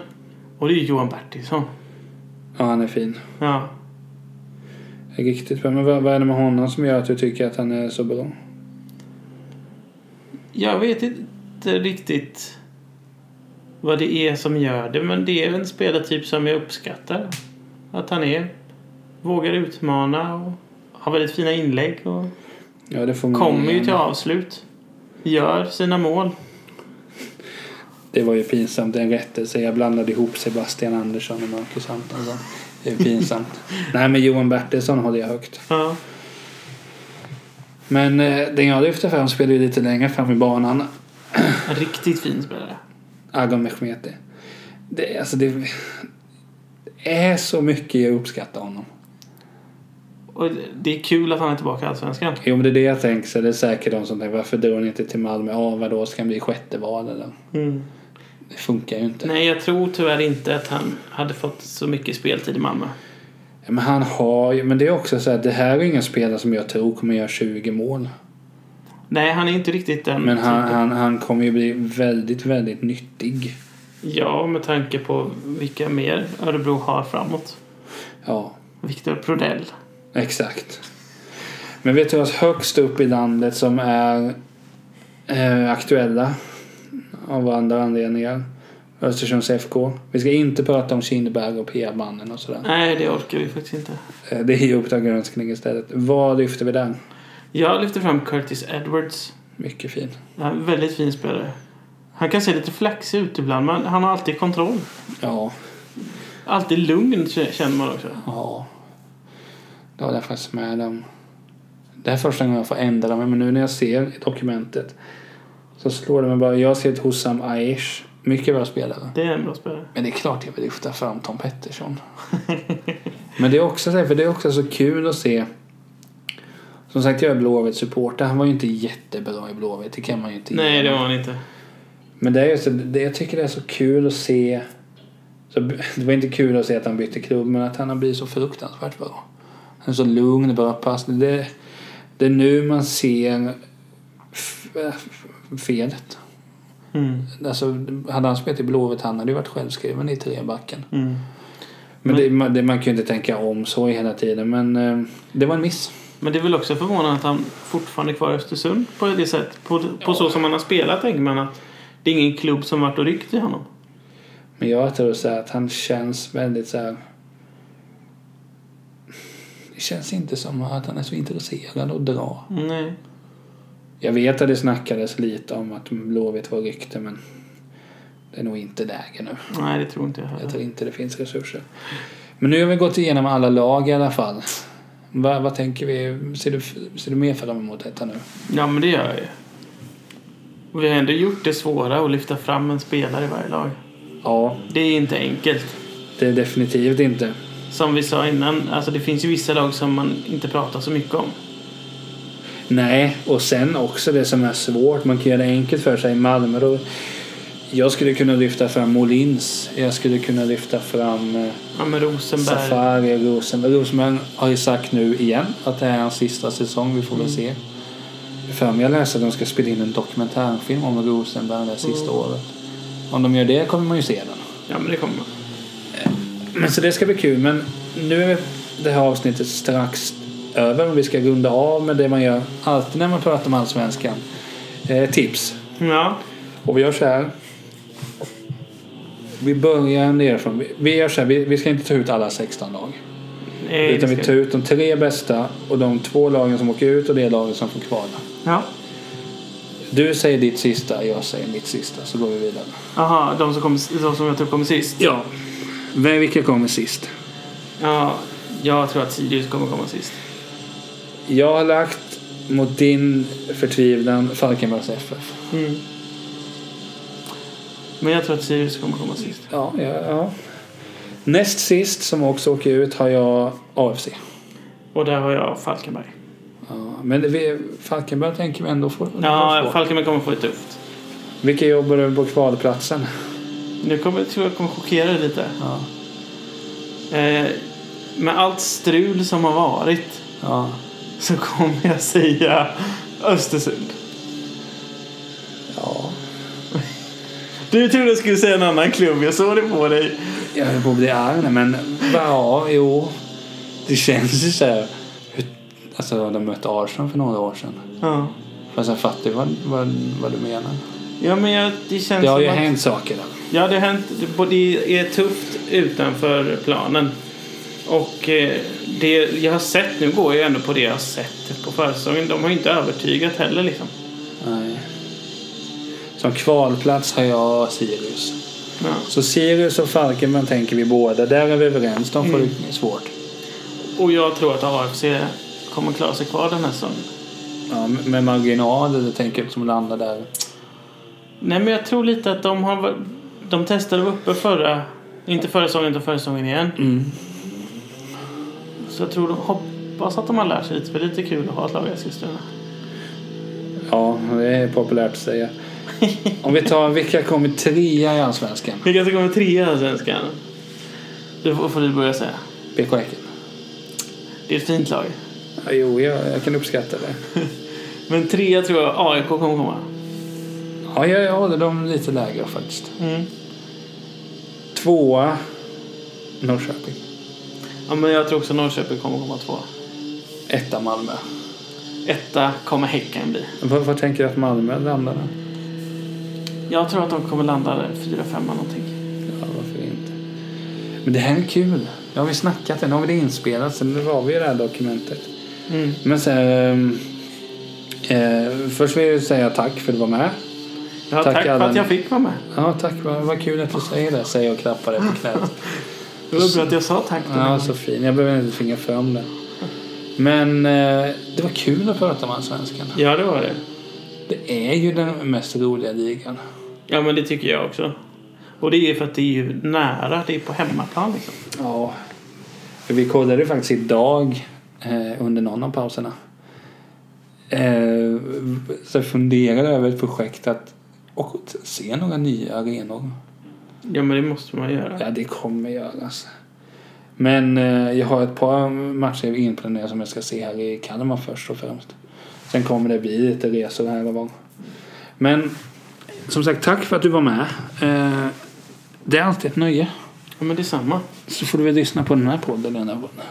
[SPEAKER 2] Och det är Johan Bertilsson.
[SPEAKER 1] ja, han är fin.
[SPEAKER 2] Ja.
[SPEAKER 1] Riktigt bra. Men vad, vad är det med honom som gör att du tycker att han är så bra?
[SPEAKER 2] Jag vet inte riktigt vad det är som gör det, men det är en spelartyp som jag uppskattar. Att han är. Vågar utmana och har väldigt fina inlägg och
[SPEAKER 1] Ja, det får man
[SPEAKER 2] kommer ju till avslut. Gör sina mål.
[SPEAKER 1] Det var ju pinsamt. En rättelse. Jag blandade ihop Sebastian Andersson och Marcus Antonsson. Det är pinsamt. Nej, men Johan Bertilsson håller jag högt.
[SPEAKER 2] Ja.
[SPEAKER 1] Men eh, den jag lyfter fram spelar ju lite längre fram i banan.
[SPEAKER 2] En riktigt fin spelare.
[SPEAKER 1] Agon Mehmeti. Det, alltså det, det är så mycket jag uppskattar honom.
[SPEAKER 2] Och det är kul att han är tillbaka i Allsvenskan.
[SPEAKER 1] Jo, men det är det jag tänker. Så det är säkert de som tänker varför drar ni inte till Malmö? Ja, vadå, ska han bli sjätte val eller?
[SPEAKER 2] Mm.
[SPEAKER 1] Det funkar ju inte.
[SPEAKER 2] Nej, jag tror tyvärr inte att han hade fått så mycket speltid i Malmö.
[SPEAKER 1] Ja, Men han har ju, men det är också så att det här är ingen spelare som jag tror kommer göra 20 mål.
[SPEAKER 2] Nej, han är inte riktigt den
[SPEAKER 1] Men han,
[SPEAKER 2] typen.
[SPEAKER 1] han, han kommer ju bli väldigt, väldigt nyttig.
[SPEAKER 2] Ja, med tanke på vilka mer Örebro har framåt.
[SPEAKER 1] Ja,
[SPEAKER 2] Viktor Prodell.
[SPEAKER 1] exakt. Men vet du vad högst upp i landet som är eh, aktuella av andra anledningar? Östersunds FK. Vi ska inte prata om Kindberg och PR-mannen och sådär.
[SPEAKER 2] Nej, det orkar vi faktiskt inte.
[SPEAKER 1] Eh, Det är ju Uppdrag granskning istället. Vad lyfter vi där?
[SPEAKER 2] Jag lyfter fram Curtis Edwards.
[SPEAKER 1] Mycket fin.
[SPEAKER 2] En väldigt fin spelare. Han kan se lite flaxig ut ibland, men han har alltid kontroll.
[SPEAKER 1] Ja,
[SPEAKER 2] Alltid lugn, k- känner man också.
[SPEAKER 1] Ja. Då hade jag faktiskt med dem. Det här är första gången jag får ändra mig, men nu när jag ser dokumentet så slår det mig bara. Jag har sett Hossam Aish. Mycket bra spelare.
[SPEAKER 2] Det är en bra spelare.
[SPEAKER 1] Men det är klart jag vill lyfta fram Tom Pettersson. men det är också så här, för det är också så kul att se. Som sagt, jag är Blåvitt supporter. Han var ju inte jättebra i Blåvitt. Det kan man ju inte
[SPEAKER 2] Nej,
[SPEAKER 1] ge
[SPEAKER 2] det
[SPEAKER 1] honom.
[SPEAKER 2] var han inte.
[SPEAKER 1] Men det är just det, det, jag tycker det är så kul att se. Så, det var inte kul att se att han bytte klubb, men att han har blivit så fruktansvärt bra. Han är så lugn, bra passning. Det, det är nu man ser f- f- felet.
[SPEAKER 2] Mm.
[SPEAKER 1] Alltså, hade han spelat i Blåvitt, han hade ju varit självskriven i trebacken.
[SPEAKER 2] Mm.
[SPEAKER 1] Men, Det, man, det, man kan ju inte tänka om så hela tiden, men eh, det var en miss.
[SPEAKER 2] Men det är väl också förvånande att han fortfarande är kvar i Östersund på det sätt. På, på så som han har spelat tänker man att det är ingen klubb som varit och ryckt i honom.
[SPEAKER 1] Men jag tror så här att han känns väldigt så här. Det känns inte som att han är så intresserad av att dra.
[SPEAKER 2] Nej.
[SPEAKER 1] Jag vet att det snackades lite om att Blåvitt var rykte men det är nog inte läge nu.
[SPEAKER 2] Nej, det tror inte jag
[SPEAKER 1] Jag
[SPEAKER 2] heller.
[SPEAKER 1] tror inte det finns resurser. Men nu har vi gått igenom alla lag i alla fall. Vad, vad tänker vi? Ser du, ser du mer fram emot detta nu?
[SPEAKER 2] Ja, men det gör jag ju. Och vi har ändå gjort det svåra att lyfta fram en spelare i varje lag.
[SPEAKER 1] Ja,
[SPEAKER 2] Det är inte enkelt.
[SPEAKER 1] det är definitivt inte.
[SPEAKER 2] Som vi sa innan, alltså det finns ju vissa lag som man inte pratar så mycket om.
[SPEAKER 1] Nej, och sen också det som är svårt. Man kan göra det enkelt för sig i Malmö. Då. Jag skulle kunna lyfta fram Molins. Jag skulle kunna lyfta fram eh,
[SPEAKER 2] Ja, men Rosenberg.
[SPEAKER 1] Safari och Rosenberg. Rosenberg har ju sagt nu igen att det här är hans sista säsong. Vi får väl se. För mig jag läste att de ska spela in en dokumentärfilm om Rosenberg det här sista året. Om de gör det kommer man ju se den.
[SPEAKER 2] Ja, men det kommer.
[SPEAKER 1] Men så det ska bli kul. Men nu är det här avsnittet strax över. Men vi ska runda av med det man gör alltid när man pratar om Allsvenskan. Eh, tips.
[SPEAKER 2] Ja.
[SPEAKER 1] Och vi gör så här. Vi börjar nerifrån. Vi- Vi gör så här. Vi, vi ska inte ta ut alla 16 lag.
[SPEAKER 2] Nej,
[SPEAKER 1] Utan
[SPEAKER 2] det
[SPEAKER 1] vi
[SPEAKER 2] Eh, ska-
[SPEAKER 1] tar ut de tre bästa och de två lagen som åker ut och det lagen som får kvala.
[SPEAKER 2] Ja.
[SPEAKER 1] Du säger ditt sista, jag säger mitt sista. Så går vi vidare.
[SPEAKER 2] Aha, de som, kom, de som jag tror kommer sist.
[SPEAKER 1] Ja. Vem, vilka kommer sist?
[SPEAKER 2] Ja, jag tror att Sirius kommer komma sist.
[SPEAKER 1] Jag har lagt mot din förtvivlan Falkenbergs FF.
[SPEAKER 2] Mm. Men jag tror att Sirius kommer komma sist.
[SPEAKER 1] Ja, ja, ja. Näst sist som också åker ut har jag AFC.
[SPEAKER 2] Och där har jag Falkenberg.
[SPEAKER 1] Ja, men vi, Falkenberg tänker vi ändå få.
[SPEAKER 2] Ja,
[SPEAKER 1] få.
[SPEAKER 2] Falkenberg kommer få det tufft.
[SPEAKER 1] Vilka jobbar över på kvalplatsen?
[SPEAKER 2] Nu kommer, tror jag kommer chockera dig lite.
[SPEAKER 1] Ja.
[SPEAKER 2] Eh, med allt strul som har varit
[SPEAKER 1] Ja.
[SPEAKER 2] så kommer jag säga Östersund.
[SPEAKER 1] ja.
[SPEAKER 2] Du trodde jag skulle säga en annan klubb. Jag såg det på dig.
[SPEAKER 1] Jag höll på att bli arg nu, men ja, jo. Det känns ju så här. Hur, alltså, de mötte Arsenal för några år sedan.
[SPEAKER 2] Ja.
[SPEAKER 1] Fast jag fattar ju vad, vad, vad du menar.
[SPEAKER 2] Ja, men jag, det känns
[SPEAKER 1] Det har
[SPEAKER 2] som
[SPEAKER 1] ju
[SPEAKER 2] att...
[SPEAKER 1] hänt saker där.
[SPEAKER 2] Ja, det har hänt. det- Det är tufft utanför planen. Och eh, det jag har sett, nu går jag ändå på det jag har sett på försäsongen. De har ju inte övertygat heller liksom.
[SPEAKER 1] Nej. Som kvalplats har jag Sirius.
[SPEAKER 2] Ja.
[SPEAKER 1] Så Sirius och Falkenberg tänker vi båda. Där är vi överens. De får det svårt.
[SPEAKER 2] Och jag tror att AFC kommer klara sig kvar den här säsongen.
[SPEAKER 1] Ja, med marginal, det tänker jag som landar där.
[SPEAKER 2] Nej, men jag tror lite att de har... De testade uppe förra... Inte förra säsongen, utan förra säsongen igen. Så jag tror de hoppas att de har lärt sig lite. För det är lite kul att ha ett lag i Eskilstuna.
[SPEAKER 1] Ja, det är populärt att säga. Om vi tar vilka kommer trea i Allsvenskan?
[SPEAKER 2] Vilka som kommer alltså trea i Svenskan? Du får, får du börja säga.
[SPEAKER 1] BK Häcken.
[SPEAKER 2] Det är ett fint lag.
[SPEAKER 1] Ja, jo, jag, jag kan uppskatta det.
[SPEAKER 2] Men trea tror jag AIK kommer komma.
[SPEAKER 1] Ja, jag, jag håller dem lite lägre faktiskt.
[SPEAKER 2] Mm.
[SPEAKER 1] Tvåa, Norrköping.
[SPEAKER 2] Ja, men jag tror också Norrköping kommer komma två.
[SPEAKER 1] Etta, Malmö.
[SPEAKER 2] Etta kommer Häcken bli.
[SPEAKER 1] Vad, vad tänker du att Malmö landar då?
[SPEAKER 2] Jag tror att de kommer landa där fyra, femma någonting.
[SPEAKER 1] Ja, varför inte? Men det här är kul. Nu har vi snackat, nu har vi det inspelat, sen nu har vi det här dokumentet.
[SPEAKER 2] Mm.
[SPEAKER 1] Men så här, ehm, eh, först vill jag säga tack för att du var med.
[SPEAKER 2] Ja,
[SPEAKER 1] Tack,
[SPEAKER 2] tack för
[SPEAKER 1] Allan.
[SPEAKER 2] att jag fick vara med.
[SPEAKER 1] Ja, tack. Vad, vad kul att du säger det, säger jag och klappar dig på knät.
[SPEAKER 2] Det var bra att jag sa tack. till
[SPEAKER 1] Ja,
[SPEAKER 2] mig.
[SPEAKER 1] så fin. Jag behöver inte tvinga fram det. Men eh, det var kul att prata om Allsvenskan.
[SPEAKER 2] ja, det var det.
[SPEAKER 1] Det är ju den mest roliga ligan.
[SPEAKER 2] Ja, men det tycker jag också. Och det är ju för att det är ju nära. Det är på hemmaplan liksom.
[SPEAKER 1] Ja. För vi kollade faktiskt idag eh, under någon av pauserna. Eh, så jag funderade över ett projekt att och se några nya arenor.
[SPEAKER 2] Ja, men det måste man göra.
[SPEAKER 1] Ja, det kommer göras. Men eh, jag har ett par matcher inplanerade som jag ska se här i Kalmar först och främst. Sen kommer det bli lite resor här och var. Men som sagt, tack för att du var med. Eh, det är alltid ett nöje.
[SPEAKER 2] Ja, men det är samma.
[SPEAKER 1] Så får du väl lyssna på den här podden den här podden.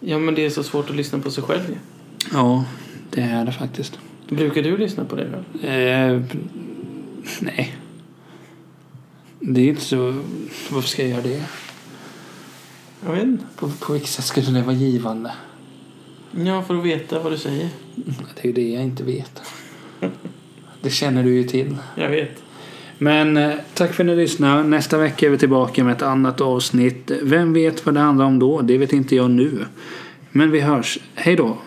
[SPEAKER 2] Ja, men det är så svårt att lyssna på sig själv ju.
[SPEAKER 1] Ja, det är det faktiskt.
[SPEAKER 2] Brukar du lyssna på det själv?
[SPEAKER 1] Eh, nej. Det är inte så... Varför ska jag göra det?
[SPEAKER 2] Jag vet inte.
[SPEAKER 1] På, på vilket sätt skulle det vara givande?
[SPEAKER 2] Ja, för att veta vad du säger.
[SPEAKER 1] Det är ju det jag inte vet. Det känner du ju till.
[SPEAKER 2] Jag vet.
[SPEAKER 1] Men eh, tack för att ni lyssnar. Nästa vecka är vi tillbaka med ett annat avsnitt. Vem vet vad det handlar om då? Det vet inte jag nu. Men vi hörs. Hej då!